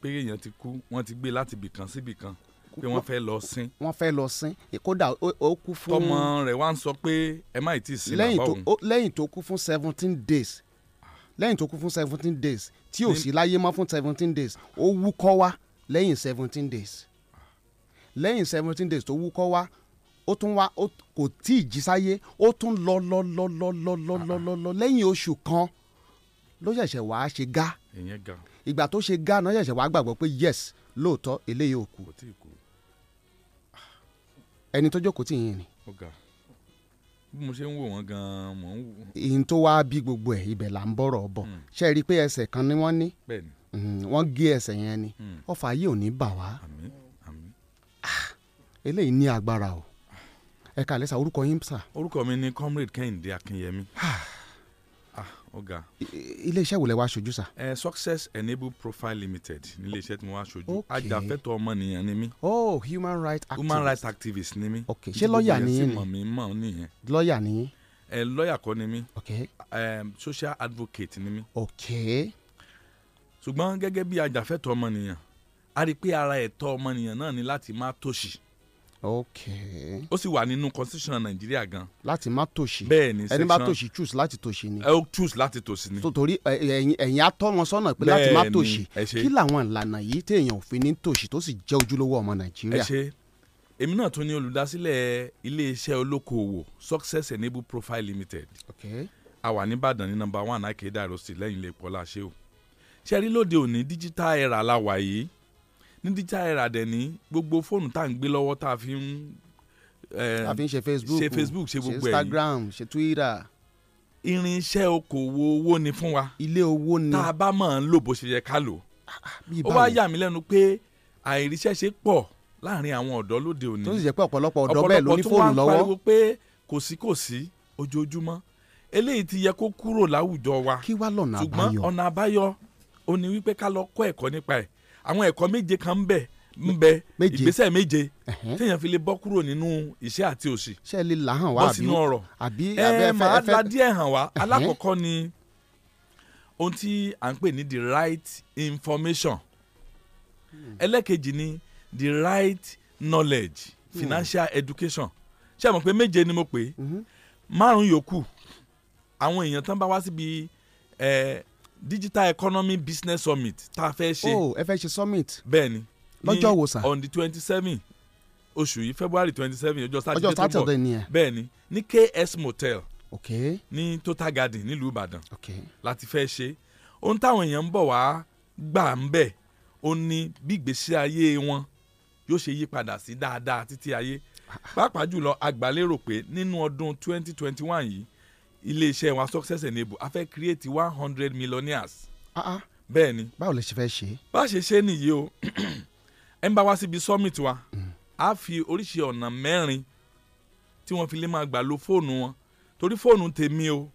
K: pé èèyàn ti kú wọ́n ti gbé láti ibìkan sí ibìkan pé wọ́n fẹ́ lọ sin
D: wọ́n fẹ́ lọ sin kódà ó- ó kú fún.
K: tọmọ rẹ̀ wá ń sọ pé ẹ má ì tí ì sin
D: lẹ́yìn
K: bàbá
D: tó
K: òun
D: ó- lẹ́yìn tó kú fún seventeen days lẹ́yìn tó kú fún seventeen days tí ò
K: Ní-
D: sí láyé mọ́ fún seventeen days ó wúkọ́ wá lẹ́yìn seventeen days lẹ́yìn seventeen days tó wúkọ́ wá ó tún wá ó- kò tí ì jí sáyé ó tún lọ lọ lọ lọ lọ lọ lọ lọ lọ lẹ́yìn oṣù kan ló ṣẹ̀ṣẹ̀ wá ṣe gá
K: ìyẹn gan
D: ìgbà tó ṣe gá náà ṣẹ̀ṣẹ̀ wá gbàgbọ́ pé yes lóòótọ́ eléyìí ò kú
K: kò tí ì kú
D: ẹni tó jókòó tì yín ni
K: ó ga bí mo ṣe ń wò wọ́n gan-an mò ń wò Hmm.
D: ìyìn tó wá bí gbogbo ẹ̀ ibẹ̀ là ń bọ̀rọ̀ bọ̀ ṣe é rí i pé ẹsẹ̀ kan ni wọ́n ní
K: bẹ́ẹ̀ ni
D: Mm, wọ́n gé ẹsẹ̀ yẹn ni
K: Mm.
D: ọfà yìí ò ní bà wá Ah,
K: àmín àmín.
D: eléyìí ní agbára o ẹ kà lẹ́sà orúkọ yín sà
K: orúkọ mi ni comrade kẹ́hìndé akínyẹmí *sighs* ah ọ̀gá
D: I- iléeṣẹ́ wo lẹ wá ṣojú sà
K: eh, success enable profile limited níléeṣẹ́ tí mo wá ṣojú
D: Okay.
K: ajàfẹ́tọ̀ ọmọnìyàn ni mí
D: oh human rights activist
K: human rights activist ni mí
D: ok ṣé lọ́ọ̀yà ni yín
K: ni mọ̀
D: ni
K: mí mọ̀ nìyẹn
D: lọ́ọ̀yà ni yín
K: Eh, lọ́ọ̀yà kọ́ ni mí
D: ok
K: eh, social advocate ni mí
D: ok
K: ṣùgbọ́n gẹ́gẹ́ bí ajàfẹ́tọ̀ ọmọnìyàn a rí i pé ara ẹ̀tọ́ ọmọnìyàn náà ni láti má tòṣì
D: ok
K: ó sì wà nínú constitution nàìjíríà gan
D: láti má tòṣì
K: bẹ́ẹ̀ ni
D: ẹni bá
K: section-
D: tòṣì choose láti tòṣì ni
K: ẹ ó choose láti tòṣì ni
D: tó torí ẹ- ẹ̀yin ẹ̀yin á tọ́ wọn sọ́nà pé láti má
K: Bẹ́ẹ̀ ni,
D: tòṣì
K: ẹ ṣé.
D: kí làwọn ìlànà yìí téèyàn ò fi ní tòṣì tó sì jẹ́ ojúlówó ọmọ
K: ẹ
D: nàìjíríà
K: ṣe èmi náà tún ní olùdásílẹ̀ iléeṣẹ́ olókoòwò success enable profile limited
D: ok
K: a wà nìbàdàn ní nọ́mbà one akéda rosi lẹ́yìn ilé pọ́lá ṣéwò ṣe rí lóde òní digital era la wà yìí ní digital era dẹ̀ ní gbogbo fóònù tá à ń gbé lọ́wọ́ tá a fi ń eh,
D: a fi ń ṣe facebook
K: ṣe Facebook, ṣe gbogbo ẹ̀ yìí.
D: instagram ṣe twitter
K: irinṣẹ́ okòwò owó ni fún wa
D: ilé owó ni Ah,
K: tá a bá máa ń lò bó ṣe yẹ ká lò
D: bíi
K: ó wá yà mí lẹ́nu pé àìríṣẹ́ṣe pọ̀ láàrin àwọn ọ̀dọ́ lóde òní
D: tó sì jẹ́ pé ọ̀pọ̀lọpọ̀ ọ̀dọ́ bẹ́ẹ̀ ló
K: ọ̀pọ̀lọpọ̀
D: ní fóònù
K: tún wá ń
D: lọ́wọ́
K: pariwo pé kò sí kò sí ojoojúmọ́ eléyìí ti yẹ kó kúrò láwùjọ wa
D: kí wá lọ́nà
K: ṣùgbọ́n
D: àbáyọ
K: ọ̀nà àbáyọ ó ní wípé ká lọ kọ́ ẹ̀kọ́ nípa ẹ̀ àwọn ẹ̀kọ́ méje kan ń bẹ ń bẹ
D: Méje.
K: ìgbésẹ̀ méje
D: Ẹ̀hẹ́n.
K: téèyàn fi lè bọ́ kúrò nínú iṣẹ́ àti òṣì
D: ṣé ẹ lè là hàn wá
K: bọ́
D: àbí
K: sínú ọ̀rọ̀
D: àbí
K: ẹ
D: àbí ẹ fẹ́
K: máa
D: ẹ fẹ́
K: la díẹ̀ hàn wá
D: Ẹ̀hẹ́n.
K: alákọ̀ọ́kọ́ ni ohun tí à ń pè ní the right information
D: Hmm.
K: ẹlẹ́kejì ni the right knowledge
D: Hmm.
K: financial education ṣé ẹ mọ̀ pé méje ni mo pè é
D: Mhm.
K: márùn yòókù àwọn èèyàn tán bá wá síbi eh, digital economy business summit tá a fẹ́ ṣe
D: oh ẹ fẹ́ ṣe summit
K: bẹ́ẹ̀ ni
D: Lọ́jọ́
K: ní
D: wo sà?
K: on the twenty seven oṣù yìí february twenty seven ọjọ́ sátidé tó
D: ọjọ́
K: ń
D: sátidé
K: bọ̀
D: nìyẹn
K: bẹ́ẹ̀ ni ní ks motel
D: ok
K: ní total garden nílùú ìbàdàn
D: ok
K: láti fẹ́ ṣe ohun táwọn èèyàn ń bọ̀ wá gbà ń bẹ̀ ó ní bí ìgbésí ayé wọn yóò ṣe yí padà sí dáadáa títí ayé pàápàá jùlọ agbálérò pé nínú ọdún 2021 yìí iléeṣẹ́ wa success enable a fẹ́ create 100 millionaires
D: ah ah
K: bẹ́ẹ̀ ni
D: báwo lẹ ṣe fẹ́ ṣe
K: bá a ṣe ṣe nìyí o *clears throat* ẹ ń bá wa síbi summit wa
D: Mm.
K: a fi oríṣi ọ̀nà mẹ́rin tí wọ́n fi lè máa gbà lo fóònù wọn torí fóònù tèmi o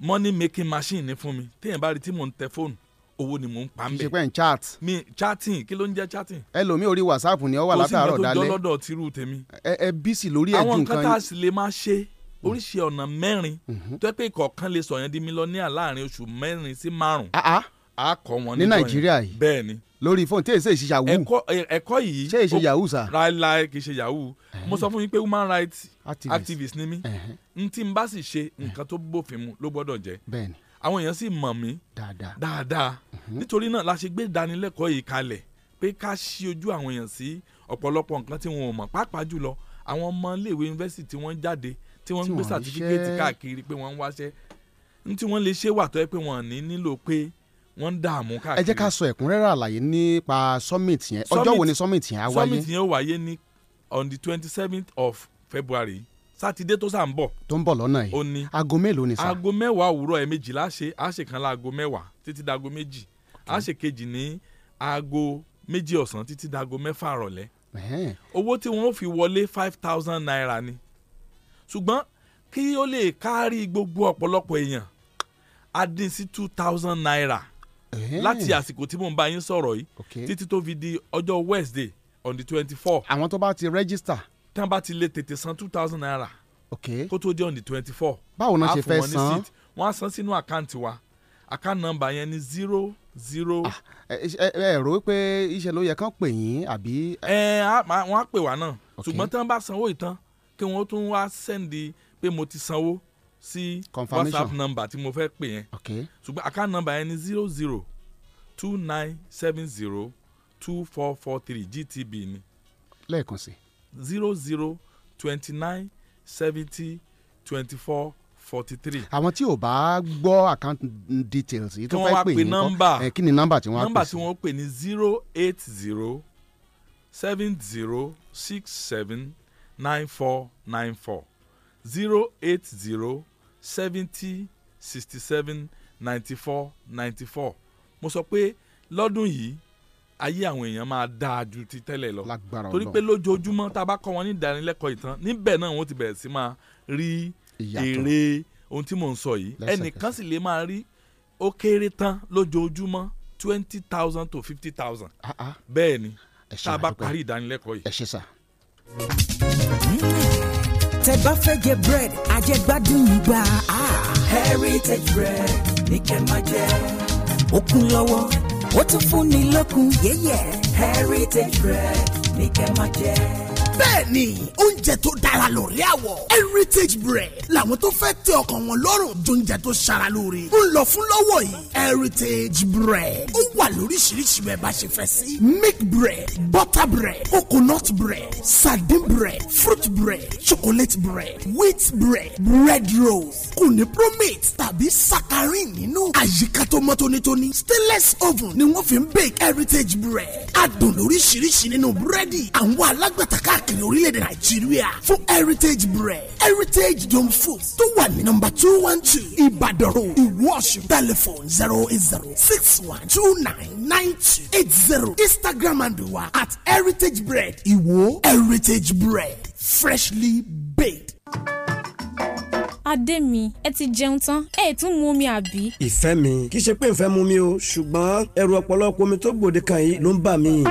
K: money making machine ni fún mi téèyàn bá rí tí mò ń tẹ fóònù owó ni mò ń pa
D: kì í
K: ń
D: ṣe
K: bẹ̀
D: pé ń chat
K: mi chatting kí ló ń jẹ́ chatting
D: ẹlòmíì orí whatsapp ni ó wà
K: kò sí nǹkan tó
D: látàárọ̀
K: jọ
D: dalẹ́
K: lọ́dọ̀ tìrú tèmi
D: ẹ ẹ bísí lórí
K: àwọn
D: ẹ̀dùn
K: nǹkan tá a
D: kan
K: sì lè máa ṣe
D: Mm-hmm.
K: oríṣi ọ̀nà mẹ́rin tó yẹ pé ìkọ̀ọ̀kan lè sọ̀yàn di mílíọ̀nìyà láàrin oṣù mẹ́rin sí márùn-ún
D: ah ah
K: a kọ́ wọn
D: Ní
K: níjọ́ yẹn.
D: Nàìjíríà yìí?
K: bẹ́ẹ̀ ni
D: lórí fóònù tí èsì èsì yahoo
K: ẹ̀kọ́ ẹ̀- ẹ̀kọ́ yìí
D: ṣé èsì
K: ó-
D: yahoo sà
K: láéláé kì í ṣe yahoo mo sọ fún yín pé human rights
D: Activist.
K: activist ni mí
D: Ẹ̀hẹ́n.
K: n tí n bá sì ṣe nǹkan tó bófin mu ló gbọ́dọ̀ jẹ́
D: bẹ́ẹ̀ ni
K: àwọn èèyàn sì mọ̀ mí
D: dáadáa
K: dáadáa nítorí náà la ṣe gbé ìdánilẹ́kọ̀ọ́ yìí kalẹ̀ pé ká ṣí ojú àwọn èèyàn sí ọ̀pọ̀lọpọ̀ nǹkan tí wọn ò mọ̀ pàápàá jùlọ àwọn ọmọ iléèwé yunifásitì tí wọ́n jáde tí wọ́n ń
D: Tí
K: gbé
D: wọ́n ríṣẹ́.
K: sàtífíkẹ́ẹ̀tì káàkiri pé wọ́n ń wáṣẹ́ n tí wọ́n lè ṣe wà tó yẹ pé wọ́n ò ní nílò pé wọ́n ń dààmú káàkiri
D: ẹ jẹ́ ká sọ ẹ̀kúnrẹ́rẹ́ àlàyé nípa summit yẹn ọjọ́ wo
K: Summit-
D: ni summit yẹn á wáyé
K: summit yẹn ó wáyé ní on the twenty seventh of february sátidé tó sàn bọ̀
D: tó ń bọ̀
K: ó
D: lọ́nà yìí
K: ní
D: aago mélòó ni sà
K: aago mẹ́wàá òwúrọ̀ ẹ̀ méjì láṣẹ àṣẹ kan láago mẹ́wàá títí dago méjì àṣẹ kejì ní aago méjì ọ̀sán títí dago mẹ́fà rọ̀lẹ́
D: Ẹ̀hẹ́n.
K: owó tí wọ́n ó fi wọlé five thousand naira ni ṣùgbọ́n kí ó lè kárí gbogbo ọ̀pọ̀lọpọ̀ èèyàn á dín sí two thousand naira láti àsìkò tí mò ń bá yín sọ̀rọ̀ yìí títí tó fi di ọjọ́ wednesday on the twenty four.
D: àwọn tó bá ti register.
K: tí wọ́n bá ti lè tètè san two thousand naira.
D: ok
K: kó tó dé on the twenty four.
D: báwo náà ṣe fẹ́ san.
K: wọ́n á san sínú àkáǹtì wa àkáǹtì nọ́mbà yẹn ni zero zero.
D: Ah, ẹ ẹ rò ó pé iṣẹ́ ló yẹ kán pè yín àbí.
K: ẹ á máa- wọ́n á pè wá náà ṣùgbọ́n tí wọ́n bá sanwó ìtàn kí wọ́n tún wá sẹ́ndì pé mo ti sanwó sí
D: Confirmation.
K: whatsapp number tí mo fẹ́ pè yẹn
D: ok
K: ṣùgbọ́n àkáǹtì nọ́mbà yẹn ni zero zero two nine seven zero two four four three gtb ni
D: lẹ́ẹ̀kan sí.
K: zero zero twenty nine seventy twenty four forty three.
D: àwọn tí ò bá gbọ́ account details yìí tó
K: Kí wọ́n
D: fẹ́
K: wá
D: pè
K: pe
D: yín
K: nọ́mbà.
D: kọ́ ẹ, kí ni nọ́mbà tí wọ́n á
K: nọ́mbà
D: pè
K: tí
D: sí.
K: wọ́n pè ní zero eight zero seven zero six seven nine four nine four zero eight zero seventy sixty seven ninety four ninety four mo sọ pé lọ́dún yìí ayé àwọn èèyàn máa dáa ju ti tẹ́lẹ̀ lọ
D: lágbára
K: torí pé lójoojúmọ́ tá a bá kọ́ wọn ní ìdánilẹ́kọ̀ọ́ ìtàn níbẹ̀ náà wọ́n ti bẹ̀rẹ̀ sí máa rí
D: Ìyàtọ̀.
K: èrè ohun tí mò ń sọ yìí
D: Lẹ́sẹ̀kẹsẹ̀.
K: ẹnìkan sì lè máa rí ó kéré tán lójoojúmọ́ twenty thousand to fifty thousand bẹ́ẹ̀ ni tá a bá parí ìdánilẹ́kọ̀ọ́ yìí.
D: ẹ ṣe sà.
L: tẹ bá fẹ́ jẹ bread ajẹgbádùn gbà. Ah,
C: heritage bread ní kẹ́ máa jẹ.
L: ó kún lọ́wọ́ ó tún fún ni lọ́kùn yẹ́yẹ́.
C: heritage bread ní kẹ́ máa jẹ.
H: bẹ́ẹ̀ni oúnjẹ tó dára lórí àwọ̀ heritage bread làwọn tó fẹ́ tẹ ọkàn wọn lọ́rùn jóúnjẹ tó ṣara lóore ń lọ fún lọ́wọ́ yìí heritage bread ó wà lóríṣiríṣi bẹ́ẹ̀ bá ṣe fẹ́ sí milk bread butter bread coconut bread sardine bread fruit bread chocolate bread wheat bread bread rolls kò ní promate tàbí saccharin nínú àyíká tó mọ́ tónítóní stainless oven ni wọ́n fi ń bake heritage bread adùn lóríṣiríṣi nínú búrẹ́dì àwọn alágbàtà káàkiri orílẹ̀-èdè nàìjíríà fún heritage bread heritage dome food tó wà ní nọmba two one two ìbàdàn road ìwó ọ̀ṣun telephone zero eight zero six one two nine nine two eight zero instagram handle wa at heritage bread ìwó heritage bread freshly baked.
M: adé mi ẹ ti jẹun tán ẹ ì tún mu omi àbí.
N: ìfẹ́ mi kì í ṣe pé ìfẹ́ mú mi o ṣùgbọ́n ẹrù ọ̀pọ̀lọpọ̀ omi tó gbòde kan yìí ló ń bà mí.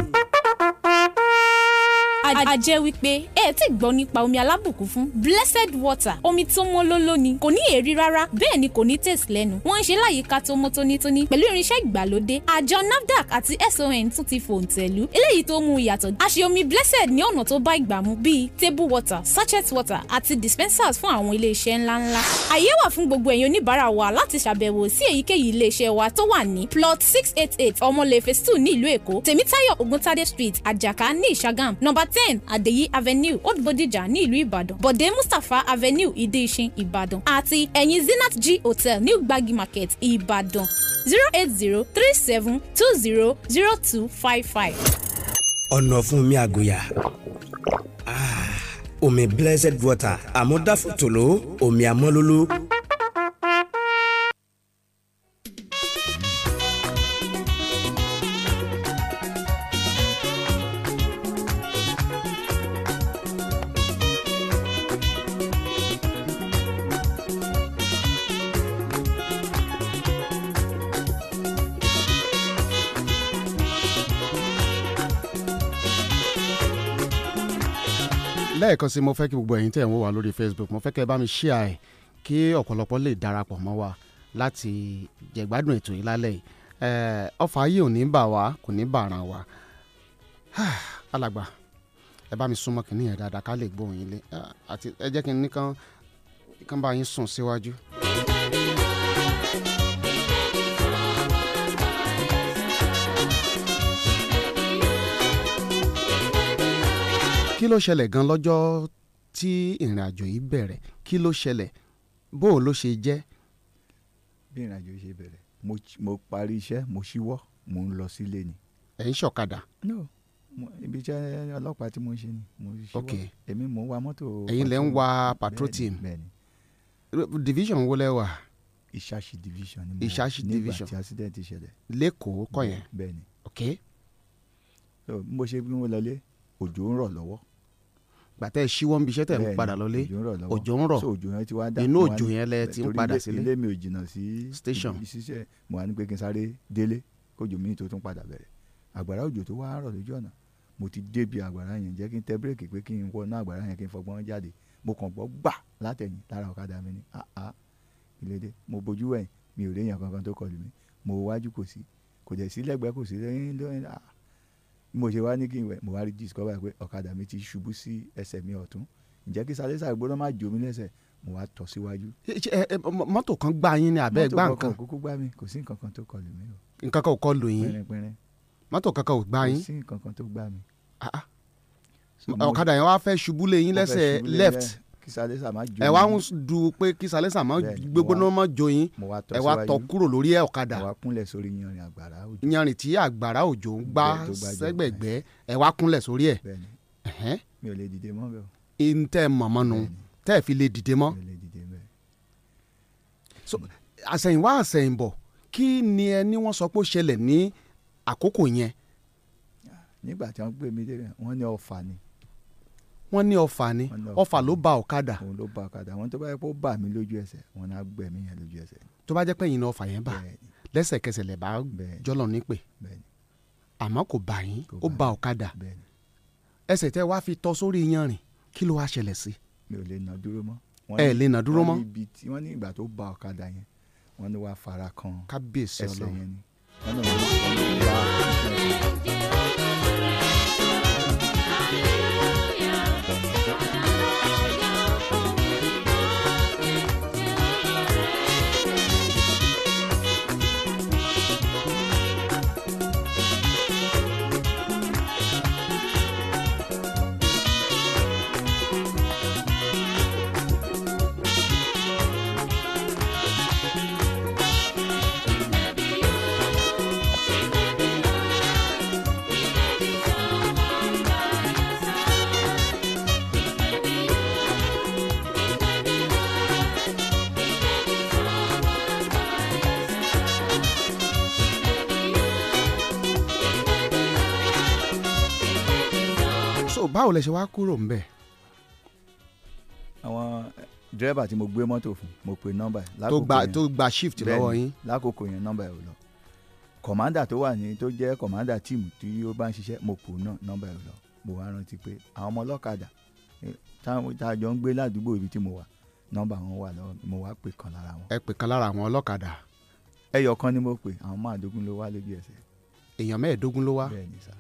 M: A- a jẹ́ wípé ẹ ẹ̀ tí gbọ́ nípa omi alábùkún fún blessed water omi tó mọ́ lóló ni kò ní èrí rárá bẹ́ẹ̀ ni kò ní taste lẹ́nu wọ́n ń ṣe láyìíká tó mọ́ tónítóní pẹ̀lú irinṣẹ́ ìgbàlódé àjọ nafdac àti son tún ti fòǹtẹ̀lù eléyìí tó mú ìyàtọ̀ a ṣe omi blessed ní ọ̀nà tó bá ìgbà mu bíi table water sachet water àti dispensers fún àwọn iléeṣẹ́ ńláńlá àyè wà fún gbogbo ẹ̀yin oníbàárà wa láti ṣàbẹ̀wò sí èyíkéyìí iléeṣẹ́ wa tó wà ní plot six eight eight ọmọlẹ́fẹ̀ two ní ìlú èkó tèmítáyọ̀ oguntade street àjàká ní ìṣàgàm nọ́mbà ten àdèyí avenue old bodija ní ìlú ìbàdàn bọ̀dé mustapha avenue ìdíṣin ìbàdàn àti ẹ̀yìn zenith g hotel ní gbagi market ìbàdàn zero eight zero three seven two zero zero two five five.
N: ọ̀nà fún mi àgùyà Ah, omi blessed water àmúdáfòtòló omi àmọ́lóló.
D: lẹ́ẹ̀kan sí mo fẹ́ kí gbogbo ẹ̀yin tẹ̀ ń wò wá lórí facebook mo fẹ́ kẹ́ ẹ bá mi share ẹ̀ kí ọ̀pọ̀lọpọ̀ lè darapọ̀ mọ́ wa láti jẹ̀gbádùn ètò yìí lálẹ́ yìí Eh, ọfà ayé ò ní bà wá kò ní bà ràn wá *sighs* alàgbà ẹ bá mi súnmọ́ kìnìún yẹn dáadáa ká lè gbóhùn yín lé Ah, àti ẹ jẹ́ kí n ní kán kán bá yín sùn síwájú. kí ló ṣẹlẹ̀ gan lọ́jọ́ tí ìrìn àjò yìí bẹ̀rẹ̀ kí ló ṣẹlẹ̀ bó o ló ṣe jẹ́
J: bí ìrìnàjò ṣe bẹ̀rẹ̀ mo ch- mo parí iṣẹ́ mo ṣíwọ́ mo ń lọ sílé ni.
D: ẹ̀ ń ṣọ̀kadà
J: no mo- ibi iṣẹ́ ọlọ́pàá tí mo ń ṣe ni mo
D: Ok.
J: ṣíwọ́ èmi mò ń wa mọ́tò.
D: ẹ̀yin lẹ́ ń
J: patrol.
D: wa patrol team
J: bẹ́ẹ̀ni
D: division wo lẹ wà
J: ìṣàṣì division ni mo
D: Ìṣàṣì division.
J: nígbà tí accident ṣẹlẹ̀.
D: lẹ́kọ̀ọ́ kọ́ yẹn
J: bẹ́ẹ̀ni
D: ok
J: so bí mo ṣe bí mo lọlé òjò ń rọ̀ lọ́wọ́
D: gbàtẹ́ ṣíwọ́ ń bi iṣẹ́ tẹ̀ ń
J: Bẹ́ẹ̀ni,
D: padà lọlé òjò ń
J: So, òjò yẹn ti wá
D: rọ̀
J: dá
D: inú
J: mo wá
D: òjò yẹn lẹ ti ń
J: torí
D: padà
J: ilé-
D: sílé
J: ilé mi ò jìnnà sí
D: Station.
J: ibi ṣiṣẹ́ mo wá ní pé kí n sáré délé kójò mi tó tún padà bẹ̀rẹ̀ àgbàrá òjò tó wá rọ̀ lójú ọ̀nà mo ti débi àgbàrá yẹn jẹ́ kí n tẹ bírèkì pé kí n wọnú àgbàrá yẹn kí n fọgbọ́n jáde mo kàn gbọ́ gbà látẹ̀yìn lára ọ̀kadà mi ni ah ah ìlédè mo bojú wẹ̀yìn mi ò réyàn kankan tó kọlù mi mo wájú kò sí kò dẹ̀ sí lẹ́gbẹ̀ẹ́ kò sí lẹ́yìn lóyún ah bí mo ṣe wá ní kí n wẹ̀ mo wá rí discover pé ọ̀kadà mi ti ṣubú sí ẹsẹ̀ mi ọ̀tún ǹjẹ́ kí salẹ́sà gbọ́dọ̀ má jò mí lẹ́sẹ̀ mo wá tọ̀ síwájú.
D: Ṣé- ẹ- ẹ- mọ- mọ́tò kan gbá yín ni àbẹ́ gbá
J: mọ́tò
D: nǹkan
J: kankan kúkú gbá mi kò sí nǹkan kan tó kọlù mi o
D: nǹkan kan ò kọ lù yín
J: pẹ́rẹ́pẹ́rẹ́
D: mọ́tò kankan ò gbá
J: kò
D: yín
J: sí nǹkan kan tó gbá mi. mo-
D: ọ̀kadà yẹn wá fẹ́ ṣubú lé yín
J: Mo fẹ́
D: lẹ́sẹ̀
J: ṣubú lé
D: left
J: lẹ́- kí salẹ́sà má jò
D: ẹ wá ń
J: mí.
D: du pé kí salẹ́sà mọ́
J: Bẹ́ẹ̀ni, mo
D: gbégbóná
J: wá-
D: mọ́ jo yín
J: mo wá tọ̀
D: ẹ wá
J: síwájú.
D: tọ kúrò lórí ẹ ọ̀kadà
J: mo wá kúnlẹ̀ sórí yanrìn àgbàrá òjò
D: yanrìn tí àgbàrá òjò ń gbá
J: Bẹ́ẹ̀, tó gbájú.
D: sẹ́gbẹ̀gbẹ́ ẹ wá kúnlẹ̀ sórí ẹ̀
J: bẹ́ẹ̀ni
D: ẹ̀hẹ́n
J: mi ò lè dìde mọ́ bẹ́ẹ̀ o
D: ihun tẹ́ ẹ mọ̀ mọ́nu tẹ́ ẹ fi lè dìde mọ́
J: mi ò lè dìde bẹ́ẹ̀.
D: So, àsẹ̀yìnwá àsẹ̀yìnbọ̀ kí ni ẹ ní wọ́n sọ pé ó ṣẹlẹ̀ ní àkókò yẹn
J: Ah, nígbà tí wọ́n gbé mi dé wọ́n ní ọ̀fà ni
D: wọ́n ní ọfà ni
J: Wọ́n ní ọfà.
D: ọfà ló ba ọ̀kadà
J: òun ló ba ọ̀kadà àwọn tó bá yẹ kó bà mí lójú ẹsẹ̀ wọn á gbẹ̀mí yẹn lójú ẹsẹ̀
D: tó bá jẹ́ pé ẹ̀yin ni ọfà yẹn bà lẹ́sẹ̀kẹsẹ̀ lẹ̀ bá jọlọ nípè àmọ́ kò bà yín ó ba ọ̀kadà
J: bẹ́ẹ̀ni.
D: ẹsẹ̀ tẹ́ wá fi tọ́ sórí yanrìn kí ló wá ṣẹlẹ̀ sí
J: mi ò lè nà dúró mọ́. Wọ́n
D: Ẹ
J: ní-
D: lè nà dúró
J: wọ́n
D: mọ́?
J: ní ibi tí wọ́n ní ìgbà tó ba ọ̀kadà yẹn wọ́n ní wàá fara kan
D: kábíyèsí
J: ẹsẹ̀
D: ọlọ́run
J: yẹn ni. wọ́n náà wọ́n wọ́n ní wàá
D: so báwo lẹ ṣe wá kúrò ń bẹ̀
J: àwọn dírẹ́bà tí mo gbé mọ́tò fún mo pe nọ́mbà ẹ̀
D: tó gba
J: yẹn.
D: tó gba shift
J: Bẹ́ẹ̀ni,
D: lọ́wọ́ yín
J: lákòókò yẹn nọ́mbà ẹ̀ ò lọ kọ̀mándà tó wà ní tó jẹ́ kọ̀mándà tíìmù tí ó bá ń ṣiṣẹ́ mo pò náà nọ́mbà ẹ̀ ò lọ mo wá rántí pé àwọn ọmọ ọlọ́kadà eh, táwọn tá a jọ ń gbé ládùúgbò ibi tí mo wà nọ́mbà wọn wà lọ́wọ́ mi, mo wá pè kan lára wọn
D: ẹ pè kan lára àwọn ọlọ́kadà
J: ẹyọ kan ni mo pè àwọn máàdógún ló wá lójú ẹsẹ̀
D: èèyàn mẹ́ẹ̀ẹ́dógún ló wá
J: bẹ́ẹ̀ni sá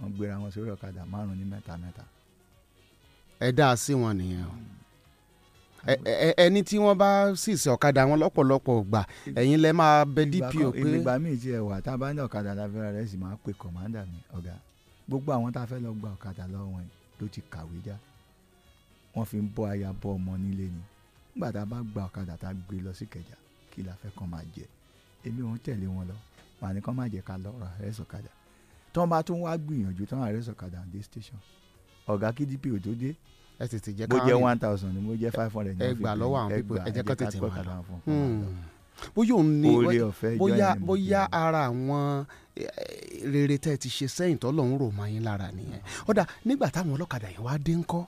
J: wọ́n gbéra wọn sórí ọ̀kadà márùn ní mẹ́ta mẹ́ta
D: ẹ dá a sí wọn nìyẹn o Ẹ- ẹ- ẹ- ẹni tí wọ́n bá sì sí ọ̀kadà wọn lọ́pọ̀lọpọ̀ gbà ẹ̀yin lẹ máa bẹ DPO pé
J: ìgbà míì tí ẹ wà tá a bá ní ọ̀kadà lábẹ́rẹ́ rẹ̀ sì máa pe kọ̀mándà mi ọ̀gá gbogbo àwọn tá a fẹ́ lọ gba ọ̀kadà lọ́wọ́ wọn yìí ló ti kàwé já wọ́n fi ń bọ́ aya bọ́ ọmọ nílé ni nígbà tá a bá gba ọ̀kadà tá a gbé lọ sí kẹjà kí la fẹ́ kàn máa jẹ èmi òun tẹ̀lé wọn lọ màá ní kàn máa jẹ ká lọ́ọ́ rẹ̀ sọ̀kadà tó ń bá tún wá gbìyànjú tó ń rẹ̀ sọ̀kadà dé station ọ̀gá kí DPO tó dé
D: ẹ tètè jẹ́
J: bó
D: káwọn
J: jẹ́
D: rìn.
J: one thousand ni mo jẹ́ five hundred
D: ẹ gbà lọ́wọ́ àwọn pípọ̀ ẹ jẹ́ kó tètè wà lọ. Hmm. bóyá òun ni
J: Oore ọ̀fẹ́ ìjọ
D: bóyá
J: yẹn ni mo
D: bóyá ara àwọn eh, rere tẹ́ ẹ ti ṣe sẹ́yìn tó lọ́hún rò mọ́ yín lára nìyẹn
J: Ah.
D: ọ̀dà nígbà táwọn ọlọ́kadà yẹn wá dé ńkọ́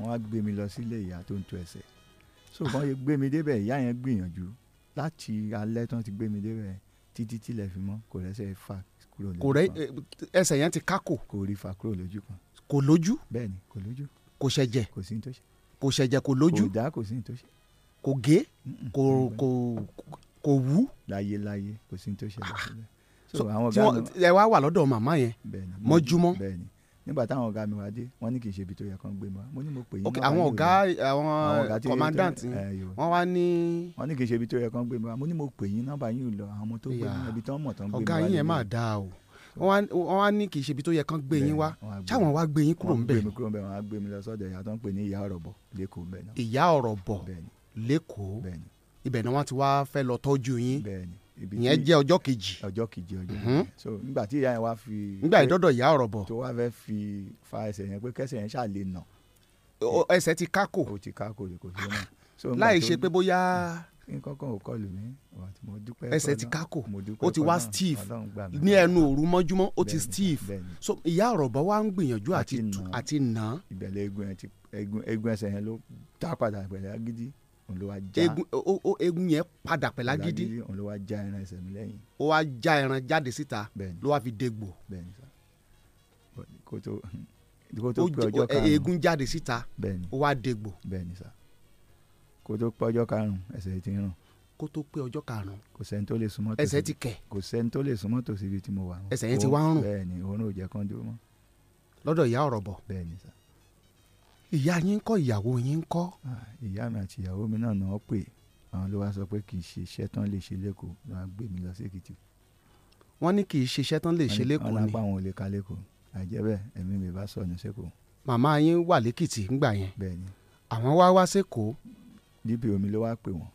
J: wọ́n á gbé mi lọ sílé ìyá tó ń tu ẹsẹ̀ so wọ́n yẹ gbé mi débẹ̀ ìyá yẹn gbìyànjú láti alẹ́ tán ti gbé mi débẹ̀ títí tílẹ̀ fi mọ́ kò rẹ́sẹ̀ fà kúrò lójú
D: kò rẹ
J: kan
D: ẹsẹ̀ yẹn ti kákò
J: kò rí fà kúrò lójú kan
D: kò lójú
J: bẹ́ẹ̀ni kò lójú
D: kò ṣẹ̀jẹ̀
J: kò sí ní tó ṣe
D: kò ṣẹ̀jẹ̀ kò
J: kò
D: lójú
J: dá kò sí ní tó ṣe
D: kò gé kò kò kò wú Ah,
J: láyé láyé kò sí ní tó ṣe lọ síbẹ̀ so
D: So,
J: àwọn
D: tí
J: ọ̀gá
D: wọ́n-
J: mi
D: ẹ wá wà lọ́dọ̀ màmá yẹn
J: bẹ́ẹ̀ni
D: mọ́júmọ́
J: bẹ́ẹ̀ni nígbà táwọn ọ̀gá mi wá dé wọ́n ní kì í ṣe ibi tó yẹ kán gbé mi wá mo ní mo pè yín
D: ok
J: nọ́mbà
D: àwọn
J: yín ò
D: ọ̀gá
J: lọ.
D: àwọn
J: ọ̀gá tí-
D: commandant
J: tó- ẹ, yóò.
D: wọ́n wá ní
J: wọ́n ní kì í ṣe ibi tó yẹ kán gbé mi wá mo ní mo pè yín nọ́mbà yín ò lọ àwọn ọmọ tó gbé mi
D: Ìyá.
J: wá ibi tán mọ̀ tán gbé mi wá
D: ọ̀gá yín yẹn
J: lélẹ̀.
D: máa dáa o wọ́n wá- wọ́n wá ní kì í ṣe ibi tó yẹ kán gbé yín wá
J: wọ́n á gbé
D: ṣáwọn
J: mi.
D: wá gbé yín kúrò
J: Wọ́n
D: ńbẹ̀
J: gbé mi kúrò ńbẹ̀ wọ́n á gbé mi lọ sọ́dọ̀ ìyá tó ń pè ní ìyá ọ̀rọ̀bọ̀ lẹ́kọ̀ọ́ ńbẹ̀ náà.
D: ìyá ọ̀rọ̀ bọ̀
J: bẹ́ẹ̀ni
D: lẹ́kọ̀ọ́
J: bẹ́ẹ̀ni
D: ibẹ̀ ni wọ́n ti wá fẹ́ lọ tọ́jú yín
J: bẹ́ẹ̀ni. ibi
D: ìyẹn
J: tí-
D: jẹ́ ọjọ́ kejì
J: ọjọ́ kejì ọjọ́
D: Mhm.
J: kejì. so nígbà tí ìyá yẹn wá fi.
D: nígbà ìdọ́dọ̀ ìyá ọ̀rọ̀ bọ̀
J: tó wá fẹ́ fi fa ẹsẹ̀ yẹn pé kẹsẹ̀ yẹn ṣàlè nà
D: ẹsẹ̀ ti kákò
J: ó ti ká kò lè kò ṣe náà. So, nígbà
D: láì
J: tó-
D: ṣe pé bóyá
J: nǹkan kan ò kọlù mí wà tí mo dúpẹ́
D: ẹsẹ̀ ti
J: fọlọ́run.
D: kákò
J: Mo dúpẹ́
D: ó ti wá
J: fọlọ́run.
D: steve
J: Ọlọ́run gbà mí.
D: ní ẹnu òru mọ́júmọ́ ó ti
J: Bẹ́ẹ̀ni,
D: steve
J: bẹ́ẹ̀ni.
D: so ìyá ọ̀rọ̀bọ wa ń gbìyànjú àti tú- àti nà án
J: ìbẹ̀lẹ̀ egun yẹn ti egun egun ẹsẹ̀ yẹn ló tá padà ìbẹ̀lẹ̀ agídí òun ló wá já
D: Egun- ó- ó- egun yẹn padà pẹ̀lú agídí
J: òun ló wá já ẹran ẹsẹ̀ mi lẹ́yìn
D: ó wá já ẹran jáde síta
J: Bẹ́ẹ̀ni.
D: ló wá fi dégbò
J: bẹ́ẹ̀ni sá But kó tó kó tó
D: Ó
J: pé
D: jẹ-
J: ọjọ́
D: ó-
J: karùn-ún
D: eegun jáde síta
J: bẹ́ẹ̀ni
D: ó wá dégbò
J: bẹ́ẹ̀ni sá kó tó pé ọjọ́ karùn-ún ẹsẹ̀ yìí ti ń rùn
D: kó tó pé ọjọ́ karùn-ún
J: kò sẹ́ni tó lè súnmọ́
D: Ẹsẹ̀
J: tòsí-
D: ti kẹ̀.
J: kò sẹ́ni tó lè súnmọ́ tòsí ibi tí mo wà mọ́.
D: Ẹsẹ̀ yẹn ti
J: Òun-
D: wá ń rùn.
J: bẹ́ẹ̀ni òórùn ò jẹ́ kán dúró mọ́
D: lọ́dọ̀ ìyá ọ̀rọ̀bọ
J: bẹ́ẹ̀ni sá
D: ìyá yín ń kọ́ ìyàwó yín ń kọ́
J: Ah, ìyá mi àti ìyàwó mi náà ni wọ́n pè àwọn ló wá sọ pé kì í ṣe iṣẹ́ tán lè ṣe lẹ́kọ̀ọ́ ló wá gbé mi lọ sí èkìtì.
D: wọ́n ní kì í ṣiṣẹ́ tán lè ṣe
J: wọ́n
D: lẹ́kọ̀ọ́
J: ní- wọ́n
D: ni
J: lápá àwọn ò lè ka lẹ́kọ̀ọ́ àìjẹ́ bẹ́ẹ̀ ẹ̀mí mi bá sọnù sẹ́kọ̀ọ́
D: màmá yín wà lẹ́kìtì ńgbà yẹn
J: bẹ́ẹ̀ ni
D: àwọn wá wá sékòó
J: dp omi ló wá pè wọ́n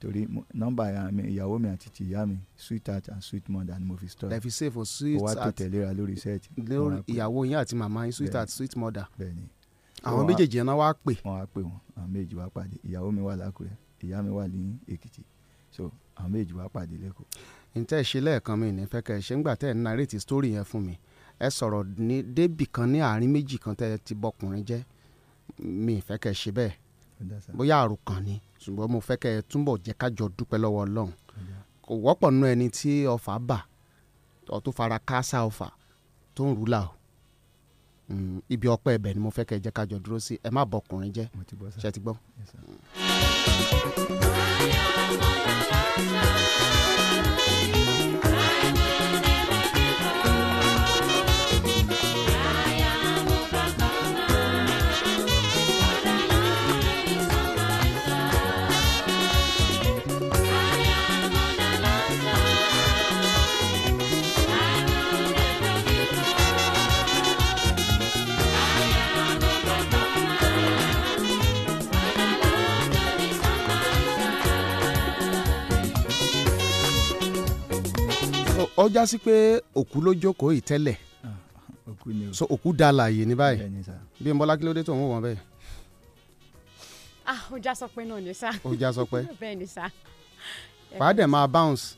J: torí mo- nọ́mbà ìyá mi- ìyàwó mi àti ti ìyá mi sweet heart and sweet mother ni mo fi stọ́
D: lẹ́ fi save for
J: ó wá
D: sweet
J: tó
D: at
J: tẹ̀léra lórí sẹ́ẹ̀tì
D: lórí ìyàwó yín àti màmá yín sweet
J: Bẹ́ẹ̀ni.
D: at sweet mother
J: bẹ́ẹ̀ ni
D: àwọn
J: Wọ́n wá-
D: méjèèjì yẹn náà wá pè
J: wọ́n wá pè wọ́n àwọn méjì wá pàdé ìyàwó mi wà lákùrẹ́ ìyá mi wà ní èkìtì so àwọn méjì wá pàdé lẹ́kọ̀ọ́
D: ntẹ́ ṣe lẹ́ẹ̀kan mi ní fẹ́kẹ́ ṣe ńgbà tẹ́ ẹ̀ ń narrate story yẹn fún mi ẹ sọ̀rọ̀ ní débì kan ní àárín méjì kan tẹ́ ẹ ti bọkùnrin jẹ́ mi fẹ́kẹ́ ṣe bẹ́ẹ̀ bóyá àròkàn ni ṣùgbọ́n mo fẹ́kẹ́ túnbọ̀ jẹ́ kájọ dúpẹ́ lọ́wọ́ ọlọ́run kò wọ́pọ̀ nú ẹni tí ọfà bà ọ tó fara káásá ọfà tó ń rúlà o Mm, ibi ọpẹ́ ibẹ̀ ni mo fẹ́kẹ́ jẹ́ kájọ dúró sí ẹ má bọkùnrin jẹ́
J: mo ti bọ́ sá
D: ṣe ti gbọ́. So, ó já sí pé òkú ló jókòó yìí tẹ́lẹ̀
J: Ah, òkú ni o
D: so òkú da láàyè ní báyìí
J: bẹ́ẹ̀ ni sá
D: bí n bọ́lá kílódé tó ń wò wọ́n bẹ́ẹ̀
O: ah ó já sọ pé náà ni sá.
D: ó já sọ pé
O: *laughs* bẹ́ẹ̀ ni sá.
D: pàdé máa bounce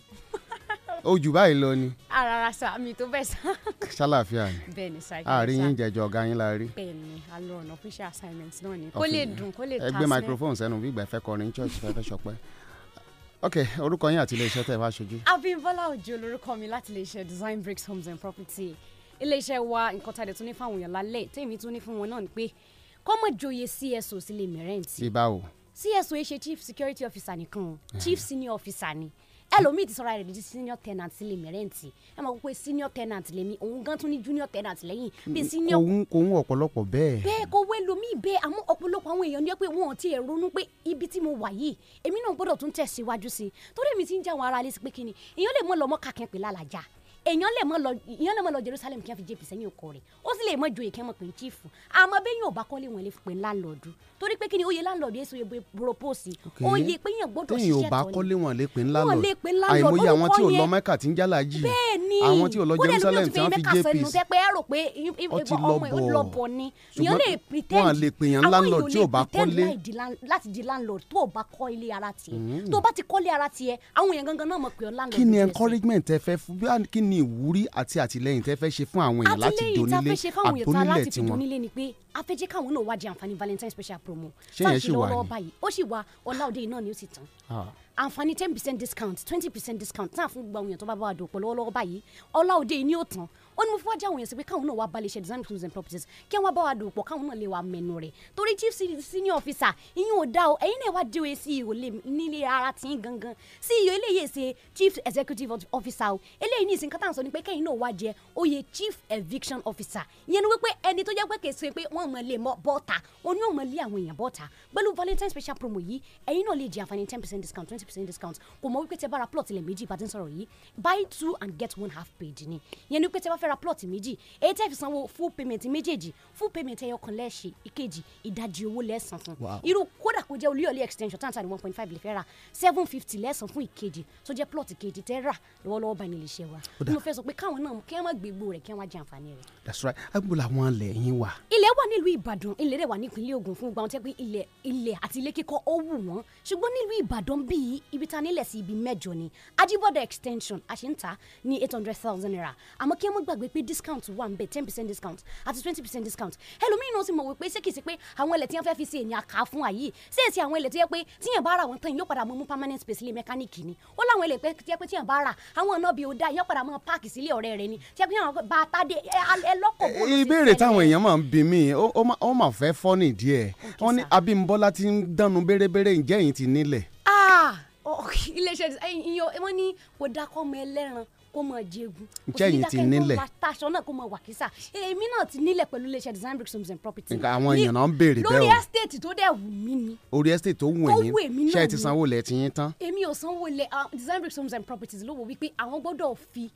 D: ó jù báyìí lọ ni
O: arara sá mi tó bẹ́ẹ̀ sá. *laughs*
D: ṣàlàfíà ni
O: bẹ́ẹ̀ ni sá.
D: àárín yín jẹjọ ọ̀gá yín la rí.
O: bẹ́ẹ̀ ni a lọ ọ̀nà official assignment náà ni kó lè dùn kó lè ta
D: ẹ gbé microphone sẹ́nu bí ìgbà ẹ fẹ́ kọrin church fẹ́ fẹ́ ṣọpẹ́ ok orúkọ yín àti iléeṣẹ́ tẹ̀ wá ṣojú
O: Abímbọ́lá Òjó lorúkọ mi láti iléeṣẹ́ Design Bricks Homes and Property iléeṣẹ́ wa nǹkan tá a dẹ̀ tún ní fáwọn èèyàn lálẹ́ tèmi tún ní fún wọn náà ni pé kọ́mọ̀ joyè CSO sílé mìrẹ́ǹtì
D: bíbá o
O: CSO ṣe Chief Security Officer nìkan o Chief Senior Officer ni ẹlòmíì ti sọra rẹ̀ di senior tenant sílé mìrẹ́ǹtì ẹ mọ̀ pé senior tenant lèmi òun gan tún ní junior tenant lẹ́yìn
D: Hmm,
O: bí senior
D: òun òun ọ̀pọ̀lọpọ̀ bẹ́ẹ̀
O: bẹ́ẹ̀ kò wé lomi bẹ́ẹ̀ àmọ́ ọ̀pọ̀lọpọ̀ àwọn èèyàn ní pé wọn ò tiẹ̀ ronú pé ibi tí mo wà yìí èmi náà gbọ́dọ̀ tún tẹ̀síwájú sí i torí èmi ti ń jẹ́ àwọn ará alẹ́ sí pé kí ni èèyàn lè mọ́ lọ mọ́ kàkẹ́ pé lálàjà èèyàn lè mọ́ lọ èèyàn lè mọ́ lọ Jerusalem kí wọ́n fi jẹ́pì sẹ́yìn ọkọ rẹ̀ ó sì lè mọ́ joyè kí wọ́n mọ̀ pé ń chiefu àmọ́ bẹ́ẹ̀ yóò bá kọ́lé wọn lè fi pé ńláńlọ́ọ̀dù torí pé kí ni oyè ńláńlọ́ọ̀dù yẹn sọ yẹ propose oyè pé yẹn gbọ́dọ̀
D: téèyàn ò
O: ṣiṣẹ́
D: bá
O: tọ́ ni
D: kọ́lé wọn lè pè ńlá
O: Wọn
D: lọ
O: lè pè ńlá lọ,
D: àìmọye àwọn tí ò
O: orúkọ
D: lọ
O: yẹn.
D: mẹ́kà tí ń jálá yìí
O: bẹ́ẹ̀ ni
D: àwọn tí ò lọ Jerusalem tí wọ́n fi
O: jẹ́
D: jp
O: pèsè pé ẹ rò pé i- i-
D: Ó ti
O: ọmọ ẹ ó
D: lọ
O: lọ
D: bọ̀.
O: bọ̀ ni
D: Ṣùgbọ́n
O: èèyàn lè pretend
D: wọn lè pè yàn
O: Àwọn
D: landlord
O: èèyàn
D: tí
O: lè
D: ò bá
O: pretend
D: kọ́lé.
O: láì di lan- láti di landlord tó o bá kọ́ ilé ara tiẹ̀
D: Mm.
O: tó o bá ti kọ́lé ara tiẹ̀ àwọn èèyàn gangan náà mọ̀ pé o landlord
D: kí ni
O: ló jẹ́ sí.
D: encouragement tẹ fẹ́ fún bí wàá- kí ni ìwúrí àti àtìlẹ́yìn tẹ fẹ́ ṣe fún àwọn èèyàn láti
O: àtìlẹ́yìn tá a
D: donílé
O: fẹ́ ṣe fáwọn èèyàn tá a
D: àgbónílẹ̀
O: láti fi
D: tiwọn
O: donílé ni pé a fẹ́ jẹ́ káwọn náà wá jẹ àǹfààní valentine special promo
D: Ṣé
O: Tá à
D: yẹn
O: ń ṣe
D: ṣì wà
O: lọ́wọ́lọ́wọ́
D: ni?
O: báyìí ó sì wà ọláòdè náà ni ó sì tán
D: Ah,
O: àǹfààní ten percent discount twenty percent discount náà fún gbogbo àwọn èèyàn tó bá bá wa dòpọ̀ lọ́wọ́lọ́wọ́ báyìí ọláòdè ni ó tán ó ní mo fún wájú àwọn èèyàn sí pé káwọn náà wá balẹ̀ iṣẹ́ design tools and properties kí wọ́n bá wa dòpọ̀ káwọn náà lè wa mẹ́nu rẹ̀ torí chief se- senior officer ìyẹn ò dá o ẹ̀yin náà wá dé o sí ìhò nílé ara tí ń gangan sí ìyó eléyìí ṣe chief executive officer o eléyìí ní ìsìn kátà ń sọ ni pé kẹ́yìn náà wá jẹ oyè chief eviction officer ìyẹn ni wípé ẹni tó jẹ́ pé kèé ṣe pé wọ́n mọ̀ lè mọ bọ́ta oní ò mọ̀ lé àwọn èèyàn bọ́ta pẹ̀lú valentine special promo yìí ẹ̀yin náà lè jẹ àǹfààní ten percent discount twenty percent discount kò mọ̀ wípé tẹ bá ra plot ilẹ̀ méjì bá ti ń sọ̀rọ̀ yìí buy two and get one half paid ni ìyẹn ni wípé tẹ bá fẹ́ ra plot méjì èyí tẹ́ fi sanwó full payment méjèèjì full payment ẹyọ kan lẹ́ẹ̀ṣẹ̀ ìkejì ìdajì owó lẹ́ẹ̀sán fún
D: Wow.
O: irú kódà kó jẹ́ olúyọ̀lé extension tá à ń ta ní one point five lè fẹ́ ra seven fifty lẹ́ẹ̀sán fún ìkejì tó jẹ́ plot kejì tẹ́ rà lọ́wọ́lọ́wọ́ báyìí nílé iṣẹ́ wa ni mo fẹ́ sọ pé káwọn náà kí wọ́n má gbégbó rẹ̀ kí wọ́n wá jẹ àǹfààní rẹ̀
D: that's right agbóhùn làwọn alẹ̀ yín wà
O: ilẹ̀ wà nílùú ìbàdàn ilẹ̀ rẹ̀ wà nípínlẹ̀ ògùn fún gbàǹtẹ́ pé ilẹ̀ ilẹ̀ àti ilé kíkọ́ ó wù wọ́n ṣùgbọ́n nílùú ìbàdàn bíi sí ibi ta nílẹ̀ sí ibi mẹ́jọ ni ajibode extension àṣìǹta ní eight hundred thousand naira àmọ́ kí ẹ mọ́ gbàgbé pé discount wà ń bẹ̀ ten percent discount àti twenty percent discount ẹlòmíì náà sì mọ̀ wípé ṣé kìí ṣe pé àwọn ilẹ̀ tí wọ́n fẹ́ fi ṣe èèyàn àká fún àyè ṣé èsì àwọn ilẹ̀ tó yẹ pé tíyàn bá ra wọn tán yóò padà mọ́ mú permanent space ilé mẹkáníìkì ni ó láwọn ilẹ̀ pé- tó yẹ pé tíyàn bá ra àwọn ọ̀nà bíi ọ̀dà yóò padà mọ́ páàkì sílé ọ̀rẹ́ rẹ ni tí yẹ pé yàn bá a tádé ẹ ẹ lọ́kọ̀ bó ló ti
D: ìbéèrè
O: fẹ́
D: táwọn èèyàn máa ń bi mí ó ó má- ó mà fẹ́ fọ́nì díẹ̀ wọ́n ní abímbọ́lá ti ń dánu bérebére ǹjẹ́ yìí ti nílẹ̀
O: Ah! Oh, iléeṣẹ́ ìyàn wọ́n ní kò dáa kọ́ ọmọ ẹlẹ́ran kó mọ jẹgun kò sí
D: Ǹjẹ́ ẹ̀yin
O: dáa
D: ti
O: kẹ́ni kó
D: nílẹ̀?
O: máa taṣọ náà kó mọ wàkísà èmi náà ti nílẹ̀ pẹ̀lú iléeṣẹ́ design bricks homes and property
D: Nǹkan àwọn
O: Ní-
D: èèyàn náà ń béèrè bẹ́ẹ̀
O: lórí
D: o.
O: estate tó dẹ̀ wù mí ni
D: orí estate tó wù
O: Tó
D: yín
O: wù èmi náà
D: ṣé ẹ ti
O: ni.
D: sanwó lẹ̀ ti yín tán
O: èmi ò sanwó lẹ ah, design bricks homes and properties ló wò wípé àwọn gbọ́dọ̀ fi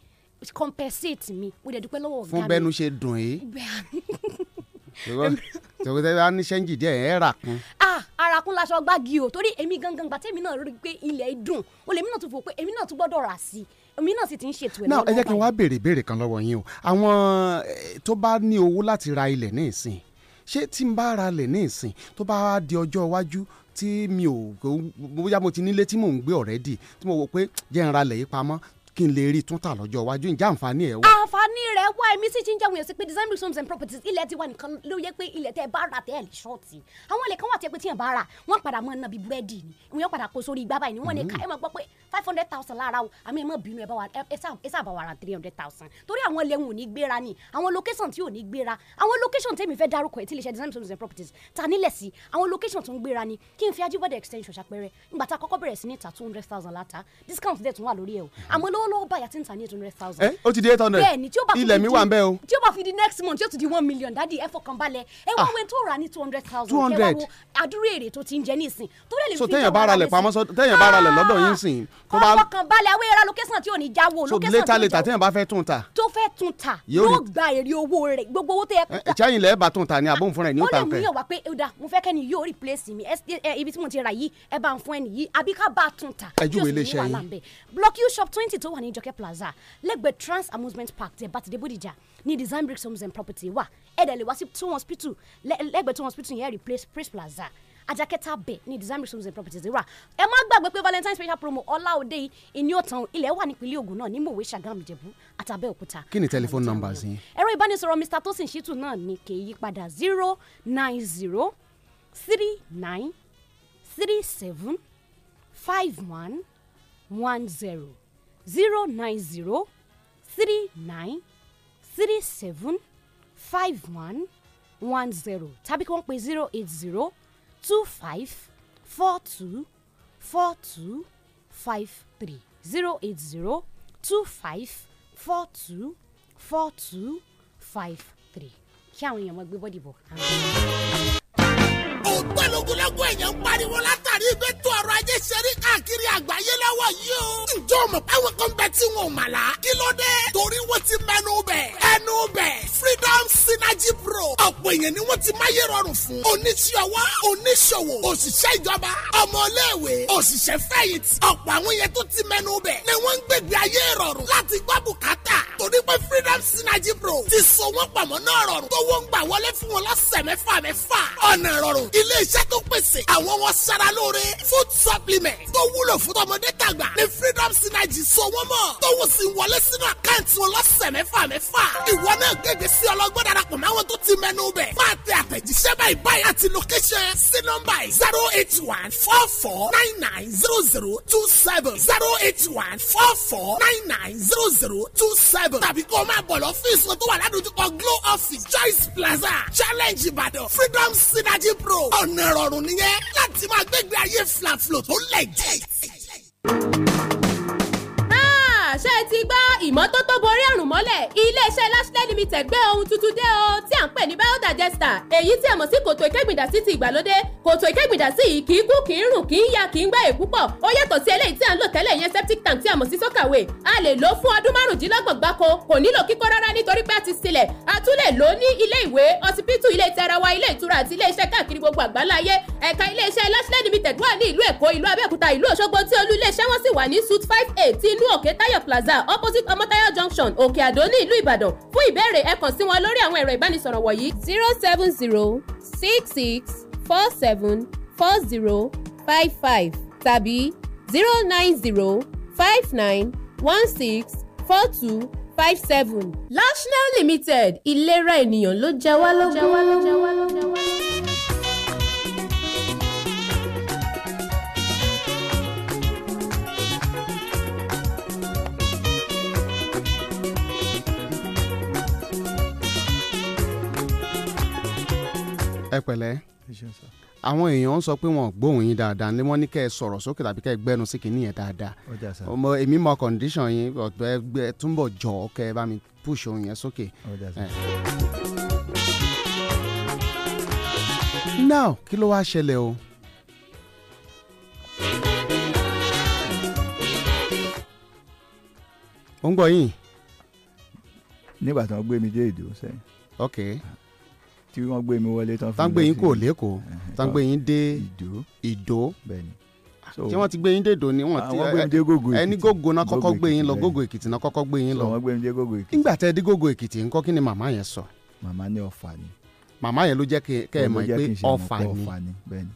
O: compensate mi mo dẹ̀ dúpẹ́ lọ́wọ́ ọ̀gá mi
D: fún bẹ́nu ṣe dùn yìí
O: Bẹ́ẹ̀-
D: tòkòtò tẹ́ bá ní ṣẹ́ńjì díẹ̀ ẹ̀ rà kún
O: ah arakun laṣọ gbági o torí èmi gangan gbà tẹ́mi náà rí i pé ilẹ̀ dùn o lèmi náà tún fò pé èmi náà tún gbọ́dọ̀ rà sí i èmi náà sì ti ń ṣètò ẹ̀
D: náà ẹ jẹ́
O: lọ́wọ́
D: kí n wá béèrè béèrè kan lọ́wọ́ yín o àwọn eh, tó bá ní owó láti ra ilẹ̀ ní ìsìn ṣé tí n bá ra ilẹ̀ ní ìsìn tó bá wá di ọjọ́ iwájú tí mi ò kò- bóyá mo ti nílé tí mò ń gbé ọ̀rẹ́dì tí mo wò pé jẹ́ n ra ilẹ̀ yìí pamọ́ kí n lè rí i tún tà lọ́jọ́ iwájú ǹjẹ́ àǹfààní ẹ̀
O: Ah,
D: wà.
O: àǹfààní rẹ̀ wá èmi sì ti ń jẹun èsì pé design bricks homes and properties ilẹ̀ tiwa nìkan ló yẹ pé ilẹ̀ tẹ́ ẹ bá rà tẹ́ ẹ lè ṣọ́ọ̀tì àwọn ilẹ̀ kan wà tí ẹ pé tíyẹn bá rà wọ́n padà mọ́ ẹ náà bíi búrẹ́dì ni wọ́n padà kó sórí igbá báyìí ni wọ́n lè ká ẹ máa gbọ́ pé five hundred thousand lára o àmì ẹ má bínú ẹ bá wa ẹ ẹ sá- ẹ sábà wà ra three hundred thousand torí àwọn ilẹ̀ wọn ò ní gbéra ni àwọn location tí ò ní gbéra àwọn location tẹ́mi fẹ́ dárúkọ ẹ̀ tí ilé iṣẹ́ design bricks homes and properties ta nílẹ̀ sí àwọn location tó ń gbéra ni kí n fi ajibode extension ṣàpẹrẹ ìgbà tá a kọ́kọ́ bẹ̀rẹ̀ sí ní ta two hundred thousand láta discount dẹ̀ tún wà lórí ẹ̀ o àmọ́ lọ́wọ́lọ́wọ́ báyà ti ń ta ní eight hundred thousand
D: ẹ Eh, ó ti di eight hundred
O: bẹ́ẹ̀ni tí ó bá fi
D: ilẹ̀
O: di-
D: mi wà ń bẹ o
O: tí ó bá fi di next month yóò tún di one million dadi ẹ fọkàn balẹ̀ ẹ
D: Ah.
O: wá wẹ́n tó rà ní two hundred thousand kẹ́ wá
D: 200.
O: wo àdúrú èrè tó ti ń jẹ ní ìsìn tó lè lè
D: so
O: fi jẹ́
D: téèyàn bá ra
O: wàhálà
D: ilẹ̀ pamọ́
O: nísìn.
D: sọ- téèyàn bá ra ilẹ̀ lọ́dọ̀ yín sìn tó
O: kọ́
D: bá
O: Ah, fọkàn balẹ̀ àwọn èrè allocation tí ò ní jáwó
D: so
O: allocation tí
D: later
O: ò ní
D: later
O: jáwó
D: téèyàn bá fẹ́ tún ta
O: tó fẹ́ tún ta
D: Yóò Eh,
O: yóò
D: rí-
O: gba èrè owó rẹ̀ gbogbo owó tó yẹ kó
D: ẹ̀ ṣẹ́yìn lẹ́ẹ̀ bá tún ta ni àbóhùn fúnra ẹ̀ ní
O: ó
D: ó ta
O: lè
D: nǹkan
O: mú
D: ẹ̀.
O: yàn wá pé ọ̀dà mo fẹ́ kẹ́ni yóò replace mi Ẹ́s- ẹ- ibi tí mo ti rà yìí ẹ bá ń fún ẹni yìí àbí ká bá a tún ta
D: Ẹ
O: kí
D: júwe
O: o sì ní
D: iléeṣẹ́
O: wàhálà
D: yín.
O: ńbẹ̀. block u shop twenty tó wà ní jọkẹ́ plaza lẹ́gbẹ̀ẹ́ trans amusement park tẹ̀ bàtìdé bòdìjà ní design bricks homes and property wà ẹ̀dẹ̀ lè wá sí two hospital lẹ́- lẹ́gbẹ̀ẹ́ two hospital yẹn replace praise plaza ajakẹta bẹ ní design bricks homes and properties rà ẹ má gbàgbé pé valentine special promo ọláòdè yìí ìní òtàn ilẹ̀ wà nípínlẹ̀ ogun náà ní mòwe sàgámù jẹ̀bú àtàbẹ̀òkúta
D: kí ni telephone numbers yín
O: ẹ̀rọ ìbánisọ̀rọ̀ mr tosin shitu náà ni kì í yípadà zero nine zero three nine three seven five one one zero zero nine zero three nine three seven five one one zero tàbí kí wọ́n pe zero eight zero two five four two four two five three zero eight zero two five four two four two five three kí àwọn èèyàn mọ gbé bọ́dì bọ̀.
H: ògbólógólógó èèyàn ń pariwo látàrí ìbẹ́tò ọrọ̀ ajé ṣẹ́rí káàkiri àgbáyé lọ́wọ́ yìí o. ǹjọ́ mọ̀ báwọn kan bẹ tí wọn ò mà lá. kí ló dé? torí wọ́n ti mẹ́nu bẹ̀. ẹnu bẹ̀. freedom synergy pro. ọ̀pọ̀ èèyàn ni wọ́n ti máyé rọrùn fún. oníṣòwò oníṣòwò òṣìṣẹ́ ìjọba ọmọléèwé òṣìṣẹ́ fẹ̀yìntì. ọ̀pọ̀ àwọn yẹn tó ti mẹ́nu bẹ̀ ni wọ́n ń gbègbè ayé rọrùn láti gbọ́ bùkátà. torí pé freedom synergy pro ti so wọ́n pàmò náà rọrùn. tó wọ́n ń gbà wọlé fún wọn lọ́sẹ̀ mẹ́fà mẹ́fà. ọ̀nà ìrọ̀rùn ilé iṣẹ́ tó pèsè àwọn wọn sara lóore food supplement tó wúlò fún tọmọdé tàgbà ní freedom synergy so wọ́n mọ̀. tó wọ́n sì wọlé sínú àkáǹtì wọn lọ́sẹ̀ mẹ́fà mẹ́fà. ìwọ náà gègé sí ọlọ́gbọ́n darapọ̀ máwọn tó ti mẹ́nu bẹ̀. máa tẹ àtẹ̀jíṣẹ́ báyìí báyìí àti location sí nọ́mbà zero eight one four four nine nine zero zero two seven zero eight one four four nine nine zero zero two seven tàbí kó o máa bọ̀ lọ́fíìsì wọn tó wà ládùúgbò glow office choice plaza challenge ìbàdàn freedom synergy pro ọ̀nà ìrọ̀rùn nìyẹn láti máa gbégbé ayé flaflo tó lẹ̀ jẹ́.
P: Ah, ṣé ẹ ti gbọ́ ìmọ́tótó borí àrùn mọ́lẹ̀ iléeṣẹ́ lashley limited gbé ohun tuntun dé o tí à ń pè ní biodigester èyí tí a mọ̀ sí kòtò ìkẹ́gbìndàsí ti ìgbàlódé kòtò ìkẹ́gbìndàsí yìí kì í kú kì í rùn kì í ya kì í gbá èé púpọ̀ ó yàtọ̀ sí eléyìí tí à ń lò tẹ́lẹ̀ yẹn septic tank tí a mọ̀ sí sọ́kàwé a lè lò ó fún ọdún márùndínlọ́gbọ̀n gbáko kò nílò kíkọ́ rárá nítorí pé a ti silẹ̀ a tún lè lò ó ní ilé ìwé ọsibítù ilé tarawa ilé ìtura àti ilé iṣẹ́ káàkiri gbogbo àgbáńlá ayé ẹ̀ka ilé iṣẹ́ lashley limited wà ní ìlú èkó ìlú abẹ́òkúta ìlú òṣogbo tí olú ilé iṣẹ́ wọn sì wà ní suit five eight tí inú òkè táyọ̀ plaza opposite ọmọtáyọ̀ junction òkè àdó ní ìlú ìbàdàn fún ìbéèrè ẹ kàn sí wọn lórí àwọn ẹ̀rọ ìbánisọ̀rọ̀ wọ̀nyí zero seven zero six six four seven four zero five five tàbí zero nine zero five nine one six four two five seven. lashnell limited ìlera ènìyàn ló jẹ wá lógún.
D: ẹ pẹ̀lẹ́ àwọn èèyàn ń sọ pé wọn ò gbóhùn yín dáadáa ní wọ́n ní kẹ́ ẹ sọ̀rọ̀ sókè tàbí kẹ́ ẹ gbẹ́nu sí kìíní yẹn dáadáa
J: ọjà sá
D: ọmọ èmi mọ condition yín ọ̀gbẹ́ gbẹ́ túnbọ̀ jọ ọ́ kẹ́ ẹ bá mi push ohun yẹn sókè.
J: ọjà sá.
D: Eh. now kí ló wá ṣẹlẹ̀ o ó ń gbọ́ yín
J: nígbà tí wọ́n gbé mi dé èdè sẹ́yìn
D: ok
J: tí wọ́n gbé mi wọlé tán fún mi
D: táǹgbé yín
J: lọ sí-
D: kò lẹ́kọ̀ọ́ táǹgbé yín dé ìdó
J: bẹ́ẹ̀ni
D: tí wọ́n ti gbé yín dé ìdó ni wọ́n ti
J: Àwọn Ah, gbé mi dé Gógó
D: uh, ẹni
J: Èkìtì.
D: gógó náà kọ́kọ́
J: Gógó
D: gbé yín lọ
J: Èkìtì,
D: gógó èkìtì náà kọ́kọ́ gbé yín
J: so
D: lọ
J: wọ́n gbé mi dé gógó èkìtì
D: nígbà tẹ́ ẹ dé gógó èkìtì ńkọ́ kí ni màmá yẹn sọ
J: màmá ní ọ̀fà ni
D: màmá yẹn ló jẹ́ kí- kẹ́ ẹ
J: Ó ló
D: mọ̀
J: jẹ́
D: pé
J: kí n ṣe mọ̀
D: ọfà
J: pé
D: ni
J: ọ̀fà ni bẹ́ẹ̀ni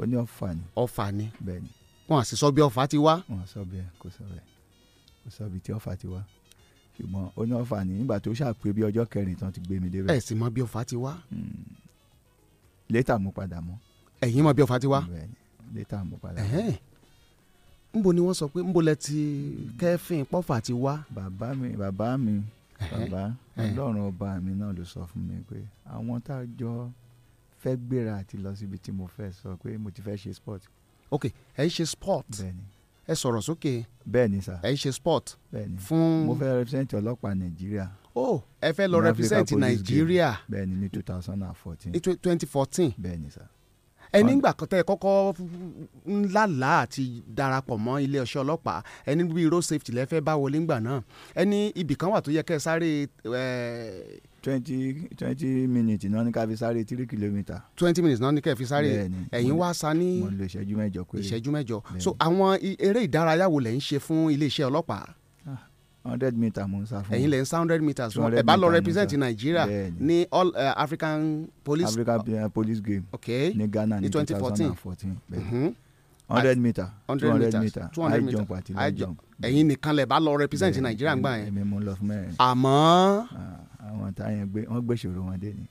J: ó ní ọ̀fà ni
D: ọfà ni
J: bẹ́ẹ̀ni
D: wọn à sì sọ bí ọfà ti wá
J: wọn sọ bẹ́ẹ̀ kò sọ bẹ́ẹ̀ kò sọ bí tí ọ̀fà ti wá ṣùgbọ́n ó ní ọ̀fà ni nígbà tó ṣàpè bí ọjọ́ kẹrin tán ti gbé mi
D: ẹ
J: débẹ̀
D: sì mọ̀ bí ọfà ti wá
J: Hmm. létà mo padà mọ́
D: ẹ̀yin mọ̀ bí ọfà ti wá
J: bẹ́ẹ̀ni létà mo padà mọ́
D: Ẹ̀hẹ́n. ńbo ni wọ́n sọ pé ńbo lẹ ti kẹ́fìn pọ́fà ti wá
J: bàbá mi bàbá mi bàbá
D: Ẹ̀hẹ́n.
J: ọlọ́run ọba mi náà ló sọ fún mi pé àwọn tá a jọ fẹ́ gbéra àti lọ síbi tí mo fẹ́ sọ pé mo ti fẹ́ ṣe sport
D: ok ẹ ń ṣe sport
J: bẹ́ẹ̀ni
D: ẹ sọ̀rọ̀ sókè
J: bẹ́ẹ̀ni sà
D: ẹ ń ṣe sport
J: bẹ́ẹ̀ni
D: fún
J: mo fẹ́ represent ọlọ́pàá nàìjíríà
D: oh ẹ fẹ́
J: ní
D: lọ
J: Africa
D: represent
J: Police
D: nàìjíríà
J: Guild. bẹ́ẹ̀ni ní two thousand and fourteen
D: ní twenty fourteen
J: bẹ́ẹ̀ni sà
D: ẹni ngbà kan tẹ ẹ kọ́kọ́ ńláńlá àti darapọ̀ mọ́ ilé ọṣẹ ọlọ́pàá ẹni bíi road safety lẹ fẹ́ bá wọlé ngbà náà ẹni ibì kan wà tó yẹ kẹ́ ẹ sáré
J: twenty twenty minutes náà ní ká fi sáré three kilometre
D: twenty minutes náà ní kẹ́ ẹ fi sáré
J: Bẹ́ẹ̀ni.
D: ẹ̀yin wá sá ní
J: mo lo ìṣẹ́jú mẹ́jọ pé
D: ìṣẹ́jú mẹ́jọ
J: Bẹ́ẹ̀ni.
D: so àwọn i- eré ìdárayá wo lẹ̀ ń ṣe fún iléeṣẹ́ ọlọ́pàá
J: hundred metre Ah, mo ń sá fún
D: ẹ̀yin lẹ̀ ń sá hundred meters wọn
J: 200
D: ẹ̀ bá lọ
J: meters
D: represent
J: nìkan.
D: nàìjíríà
J: Bẹ́ẹ̀ni.
D: ní all eh, african police
J: africa uh, police game
D: ok
J: ní ghana
D: ní
J: ní two
D: twenty
J: thousand
D: fourteen
J: and fourteen
D: Mhm.
J: hundred metre two
D: 100
J: hundred
D: meters
J: metre
D: two hundred
J: high
D: meters
J: jump àti
D: high
J: low jump
D: ẹ̀yin nìkan lẹ̀ bá lọ represent
J: Bẹ́ẹ̀ni,
D: nàìjíríà ń gbà yẹn
J: èmi mo lọ fún mẹ́rin
D: àmọ́
J: Ah, àwọn táyẹn gbé wọ́n gbé ìṣòro wọn dé ni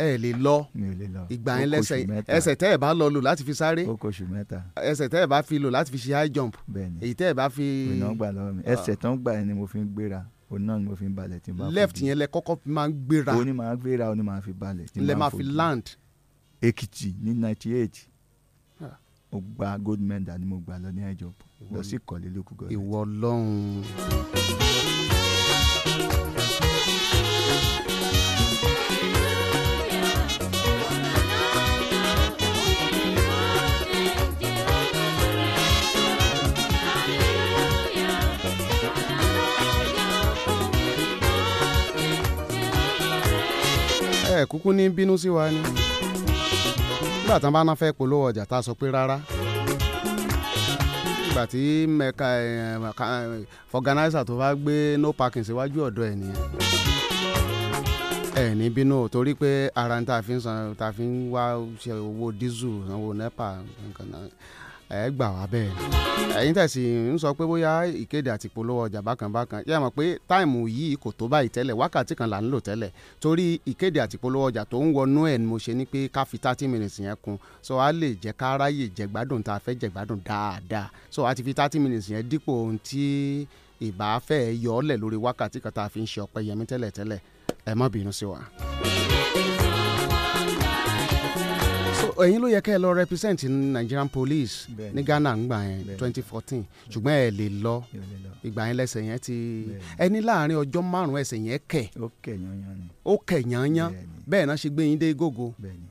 D: ẹ lè lọ
J: mi ò lè lọ
D: ìgbà
J: Ó
D: yẹn
J: kóṣù
D: lẹ́sẹ̀
J: mẹ́ta.
D: ẹsẹ̀ tẹ́ ẹ̀ bá lọ lò láti fi sáré
J: ó kóṣù mẹ́ta
D: ẹsẹ̀ tẹ́ ẹ̀ bá fi lò láti fi ṣe high jump
J: bẹ́ẹ̀ ni
D: èyí tẹ́ ẹ̀ bá fi Ah,
J: ìná gbà lọ́wọ́ mi ẹsẹ̀ tán gbà yẹn ni mo fi ń gbéra òun náà ni mo fi ń balẹ̀ tí n bá fojú.
D: left yẹn lẹ kọ́kọ́ máa ń gbéra
J: òun ni màá gbéra òun ni màá fi balẹ̀ tí n
D: lẹ
J: bá
D: máa fi
J: fojú.
D: land
J: èkìtì ní ninety eight
D: Ah.
J: mo gba gold medal ni mo gbà lọ ní ẹjọ lọ sí ìkọ̀lé lókù gọ́ọ̀lẹ̀
D: ìwọ ọlọ́run. ẹ kúkú ní bínú sí wa ni nígbà tí wọn bá ná fẹ́ polówó ọjà tá a sọ pé rárá nígbà tí mẹka ẹ, mẹka, ẹ, fọganáísà tó bá gbé no parking síwájú ọ̀dọ̀ ẹ̀ nìyẹn ẹ ní bínú o torí pé ara ń ta fi ń san ta fi ń wá ṣe owó dísù owó nepa nǹkan náà ẹ gbà wá bẹ́ẹ̀ ni. ẹ̀yin tẹ̀sí ń sọ pé bóyá ìkéde àti polówó ọjà bákan bákan yẹ́ mọ̀ pé táìmù yìí kò tó báyìí tẹ́lẹ̀ wákàtí kan là ń lò tẹ́lẹ̀ torí ìkéde àti polówó ọjà tó ń wọnú ẹ̀ ni mo ṣe ni pé ká fi thirty minutes yẹn kun so a lè jẹ́ ká ráyè jẹ̀gbádùn tá a fẹ́ jẹ̀gbádùn dáadáa so a ti fi thirty minutes yẹn dípò ohun tí ìbá fẹ́ yọ ọ́lẹ̀ lórí wákàtí kan tá a fi ń ṣe ọpẹ́ yẹmí tẹ́lẹ̀ tẹ́lẹ̀ ẹ má bínú sí wa. so ẹ̀yin ló yẹ kẹ́ ẹ lọ represent nigerian police
J: Bẹ́ẹ̀ni.
D: ní ghana ń gbà yẹn
J: Bẹ́ẹ̀ni.
D: twenty fourteen ṣùgbọ́n ẹ lè lọ
J: mi ò lè lọ
D: ìgbà yẹn lẹ́sẹ̀ yẹn ti ẹni
J: Bẹ́ẹ̀ni.
D: láàrin ọjọ́ márùn-ún ẹsẹ̀ yẹn kẹ̀
J: ó kẹ̀ yanyan ni
D: ó kẹ̀ yányán
J: Bẹ́ẹ̀ni.
D: bẹ́ẹ̀ náà ṣe gbé yín dé gógó
J: bẹ́ẹ̀ ni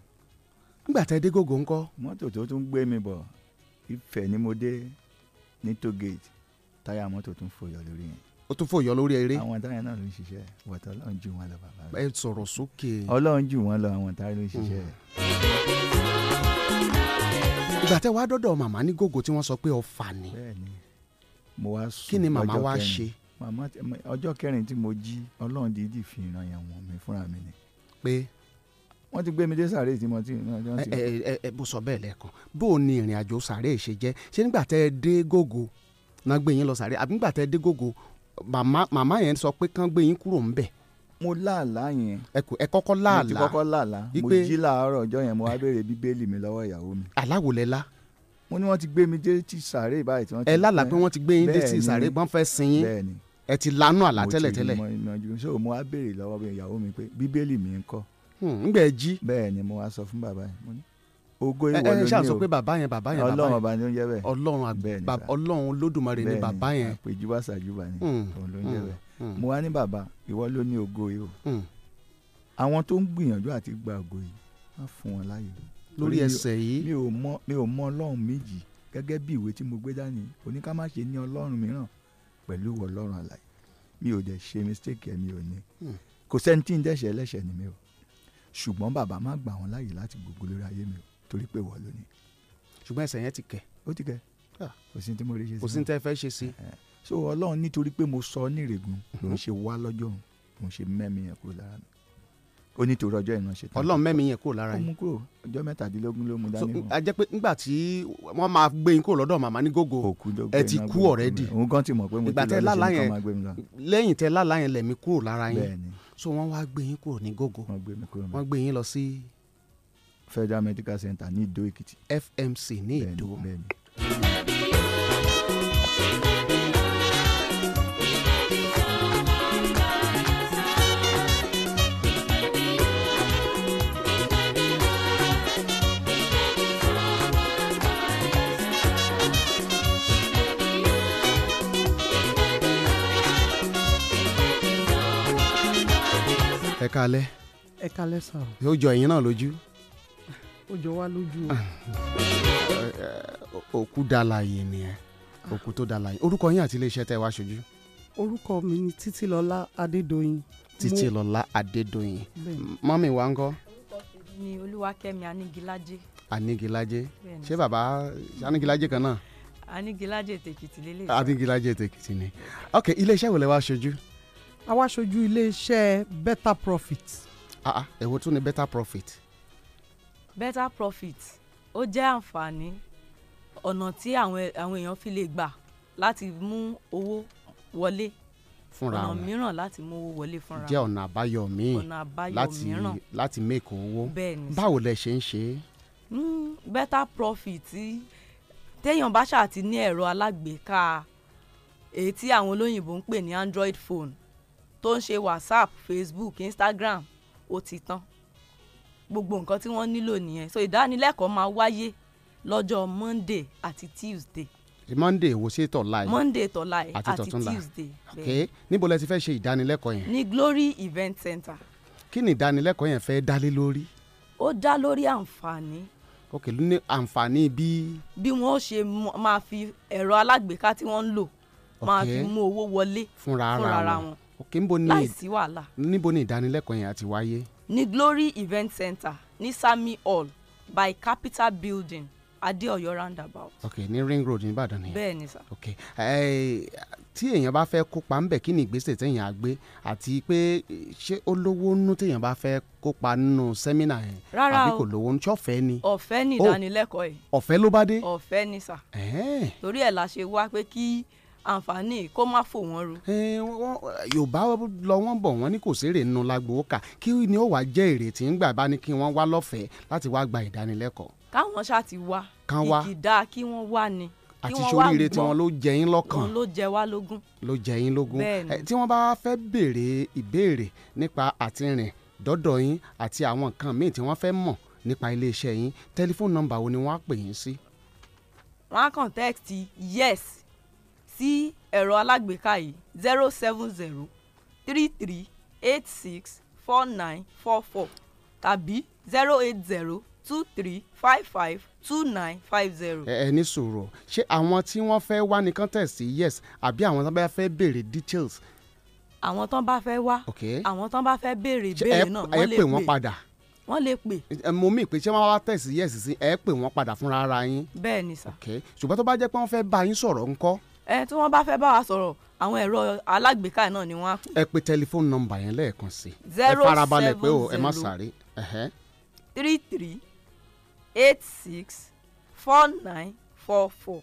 D: nígbà tẹ́ dé gógó ńkọ́
J: mọ́tò tó tún gbé mi bọ̀ ìfẹ́ ni mo dé ní toll gate táyà mọ́tò tún fòyọ lórí yẹn
D: ó tún fòyọ lórí eré
J: àwọn táyà náà ló ń ṣiṣẹ́ wọ̀tọ́ ọlọ́run jù wọ́n lọ bàbá mi
D: ẹ sọ̀rọ̀ sókè Mm.
J: ọlọ́run jù wọ́n lọ àwọn táyà ló ń ṣiṣẹ́
D: ìgbà tẹ́ wàá dọ́dọ̀ màmá ní gógó tí wọ́n sọ pé ọ̀fà ni
J: bẹ́ẹ̀ ni mo wá sùn
D: kí ni màmá
J: lọ́jọ́
D: wá
J: kẹrin.
D: ṣe
J: màmá tẹ- mọ- ọjọ́ kẹrin tí mo jí ọlọ́run dídì fi ìran yẹn wọ̀n mi fúnra mi ni
D: pé
J: wọ́n ti gbé mi dé sàárè tí mo ti.
D: ẹ ẹ ẹ bó sọ bẹ́ẹ̀ lẹ́ẹ̀kan bó o ní ìrìn àjò sàárè ṣe jẹ́ ṣé nígbà tẹ́ ẹ dé gògó náà gbé yín lọ sàárè àbí nígbà tẹ́ ẹ dé gògó màmá màmá yẹn sọ pé kán gbé yín kúrò ńbẹ̀.
J: mo láàlá yẹn.
D: ẹ kò ẹ kọ́kọ́ láàlá.
J: mo ti kọ́kọ́ láàlá mo jí láàárọ̀ ọjọ́ yẹn mo wá béèrè bíbélì mi lọ́wọ́ ìyàwó mi.
D: aláwo lẹ lá.
J: mo ní wọ́n ti gbé mi dé tí sàárè báyìí tí wọ́n ti.
D: ẹ lálàá pé wọ́n ti gbé yín dé tí sàárè pọ́n fẹ́ sin yín
J: bẹ́ẹ̀ni
D: ẹ ti lanu àlá tẹ́lẹ̀tẹ́lẹ̀.
J: mo ti rí mọ ìmọ̀ ju so mo wá béèrè lọ́wọ́ ìyàwó mi pé bíbélì mi ń kọ́
D: ngbẹ Hmm, jí.
J: bẹ́ẹ̀ ni mo wá sọ fún bàbá yẹn mo ní ogo ìwọ
D: ẹ
J: ló ní o
D: ṣáà sọ pé bàbá yẹn bàbá yẹn
J: ọlọ́run ọba ni ó ń jẹ́ bẹ́ẹ̀
D: ọlọ́run àgbà ọlọ́run olódùmarè ni bàbá yẹn. Hmm.
J: àpèjúbà sàjúbà ni òun ló ń jẹ́ bẹ́ẹ̀ mo wá ní bàbá ìwọ ló ní ogo yìí o
D: Hmm.
J: àwọn tó ń gbìyànjú àti gba ògo yìí á fún wọn láàyè.
D: lórí ẹsẹ̀ yìí.
J: mi ò mọ mi ò mọ ọlọ́run méjì gẹ́gẹ́ bí ìwé tí mo gbé dání oníkàmáṣe ní ọlọ́run mìíràn pẹ̀lú ọlọ́run àlàyé mi ò dẹ̀ ṣe mistake ẹ̀ mi ò ní
D: Hmm.
J: kò sẹ́ni tí ń dẹ́ṣẹ̀ ẹlẹ́ṣẹ̀ ni mi ò ṣùgbọ́n bàbá má gbà wọ́n láàyè láti gbogbo lórí ayé mi o torí pé wọ́n ló ní.
D: ṣùgbọ́n ẹsẹ̀ yẹn ti kẹ̀. Ah,
J: ó ti kẹ̀ Ah, kò sí ní tí mo rí ṣe sí.
D: kò sí ní tẹ́ fẹ́ ṣe
J: Eh,
D: sí.
J: so ọlọ́run nítorí pé mo sọ ní ìrègùn
D: Mhm.
J: ló ń ṣe wá lọ́jọ́ òun ló ń ṣe mẹ́mi yẹn kúrò lára mi ó ní torí ọjọ́ ìrànṣẹ́ tán.
D: ọlọ́run mẹ́mi yẹn kúrò lára
J: ó
D: yín.
J: mú kúrò ọjọ́ mẹ́tàdínlógún ló mú dání
D: a jẹ́ pé nígbà tí wọ́n máa gbé yín kúrò lọ́dọ̀ màmá ní gógó ẹ ti kú ọ̀rẹ́dì
J: òun gan ti mọ̀ pé mo ti
D: ìgbà tẹ́
J: lọ
D: lálá
J: lọ́sẹ̀ nǹkan
D: yẹn
J: máa gbé mi lọ.
D: lẹ́yìn tẹ́ lálá yẹn lẹ̀mí kúrò lára yín
J: Bẹ́ẹ̀ni.
D: so wọ́n wá gbé yín kúrò ní gógó
J: wọ́n gbé mi kúrò mi.
D: wọ́n gbé yín lọ sí
J: federal medical center ní ìdó èkìtì.
D: fmc ní ìdó.
J: bẹ́ẹ̀ni
D: ẹ kalẹ
Q: ẹ kalẹ sàn
D: yóò jọ ẹyin náà lójú
Q: ó jọ wá lójú o
D: Eh, òkú dalaye nìyẹn òkú tó dalaye orúkọ yín àti iléeṣẹ́ tẹ́ wá ṣojú
Q: orúkọ mi ni títílọlá adédọyìn mo
D: títílọlá adédọyìn
Q: Bẹ́ẹ̀ni.
D: mọ́mì wa ń kọ́
R: ni olúwakẹ́mi anígilájé
D: anigilaje
R: Bẹ́ẹ̀ni.
D: ṣé bàbá anigilaje kan náà
R: anígilájé tèkìtì lélẹ̀
D: anigilaje tèkìtì ni ok iléeṣẹ́ wo lẹ wá ṣojú
Q: àwa aṣojú iléeṣẹ́ better profit
D: ah ah èwo tún ni better profit
R: better profit ó jẹ́ àǹfààní ọ̀nà tí àwọn àwọn èèyàn fi lè gbà láti mú owó wọlé
D: fúnra
R: ọ̀nà
D: wọn
R: mìíràn láti mú owó wọlé fúnra
D: jẹ́ ọ̀nà àbáyọ míì
R: Ọ̀nà àbáyọ
D: láti
R: mìíràn.
D: láti make owó
R: Bẹ́ẹ̀ni.
D: báwo lẹ ṣe ń ṣe é
R: mm, better profit tí- téèyàn bá ṣáà ti ní ẹ̀rọ alágbèéká èyí tí àwọn olóyìnbó ń pè ní android phone tó ń ṣe whatsapp facebook instagram ó ti tán gbogbo nǹkan tí wọ́n nílò nìyẹn so ìdánilẹ́kọ̀ọ́ máa wáyé lọ́jọ́ monday àti tuesday
D: monday wo ṣe tọ̀ láì
R: monday tọ́la ẹ̀
D: Àti
R: àti
D: tọ̀túnla.
R: tuesday
D: ok
R: bẹ́ẹ̀.
D: níbo lẹ ti fẹ́ ṣe ìdánilẹ́kọ̀ọ́ yẹn
R: ní glory event center
D: kí ni ìdánilẹ́kọ̀ọ́ yẹn fẹ́ dálé lórí
R: ó dá lórí àǹfààní
D: ok ló ní àǹfààní bí
R: bí wọ́n ṣe mọ- máa fi ẹ̀rọ alágbèéká tí wọ́n ń lò máa
D: Ok.
R: fi mú owó wọlé
D: fúnra
R: Fúnra
D: ara
R: ara
D: wọn
R: wọn.
D: ok níbo ni
R: láì sí wàhálà
D: níbo ni ìdánilẹ́kọ̀ọ́ yẹn àti wáyé
R: ní glory event center ní sami hall by capital building adeoyo roundabout
D: ok ní ring road ní ìbàdàn nìyẹn
R: bẹ́ẹ̀ ni sà
D: ok eh, tí èèyàn bá fẹ́ kópa ńbẹ kí ni ìgbésẹ̀ téèyàn á gbé àti pé eh, ṣé ó lówó nú téèyàn bá fẹ́ kópa nínú sẹ́mínà yẹn
R: Rárá
D: àbí
R: o.
D: kò lówó nú ṣọ́fẹ́ ni
R: ọ̀fẹ́ ní
D: Oh.
R: ìdánilẹ́kọ̀ọ́ ẹ̀
D: ọ̀fẹ́ ló bá dé
R: ọ̀fẹ́ ni sà
D: Eh,
R: torí ẹ̀ la ṣe wá pé kí àǹfààní yìí kó má fò wọ́n ru
D: eh, wọ́n- yorùbá lọ wọ́n bọ̀ wọ́n ní kò sérè nínú lágbówó kà kí ni ó wàá jẹ́ èrè tí ń gbà bá ní kí wọ́n wá lọ́fẹ̀ẹ́ láti wá gba ìdánilẹ́kọ̀ọ́
R: káwọn ṣáà ti wá
D: Kán wá.
R: kìkì dáa kí wọ́n wá ni kí
D: àti
R: wọ́n wá
D: sóríire tí
R: gbọ́.
D: wọ́n ló jẹ yín lọ́kàn
R: òun ló jẹ wá lógún
D: ló jẹ yín lógún
R: Bẹ́ẹ̀ni.
D: Eh, tí wọ́n bá fẹ́ béèrè ìbéèrè nípa àtirìn dọ́dọ̀ yín àti àwọn nǹkan míì tí wọ́n fẹ́ mọ̀ nípa iléeṣẹ́ yín tẹlifóònù nọ́mbà wo ni wọ́n á pè yín sí.
R: wọn á kàn tẹ́ẹ̀tì yes sí ẹ̀rọ alágbèéká yìí zero seven zero three three eight six four nine four four tàbí zero eight zero two three five five two nine five zero.
D: ẹ ẹ ní sòrò ṣé àwọn tí wọ́n fẹ́ wá nìkan tẹ̀ sí yes àbí àwọn tó bá fẹ́ béèrè details.
R: àwọn tán bá fẹ́ wá
D: ok
R: àwọn tán bá fẹ́
D: Ṣé
R: béèrè ìbéèrè náà
D: ẹ
R: wọ́n lè
D: pè wọ́n padà
R: wọ́n lè pè
D: Eh, mo mí pé ṣé wọ́n wá tẹ̀ sí yes sí ẹ pè wọ́n padà fúnra ara yín.
R: bẹ́ẹ̀ ni sà.
D: ok ṣùgbọ́n tó bá jẹ́ pé wọ́n fẹ́ bá yín sọ̀rọ̀ ńkọ́
R: ẹ tí wọ́n bá fẹ́ bá wa sọ̀rọ̀ àwọn ẹ̀rọ alágbèéká náà ni wọ́n á pè
D: ẹ pe tẹlifóònù nọ́mbà yẹn lẹ́ẹ̀kan sí. ẹ
R: Zero
D: farabalẹ̀ pé o ẹ má
R: seven zero.
D: sáré. ẹhẹ́.
R: three three eight six four nine four four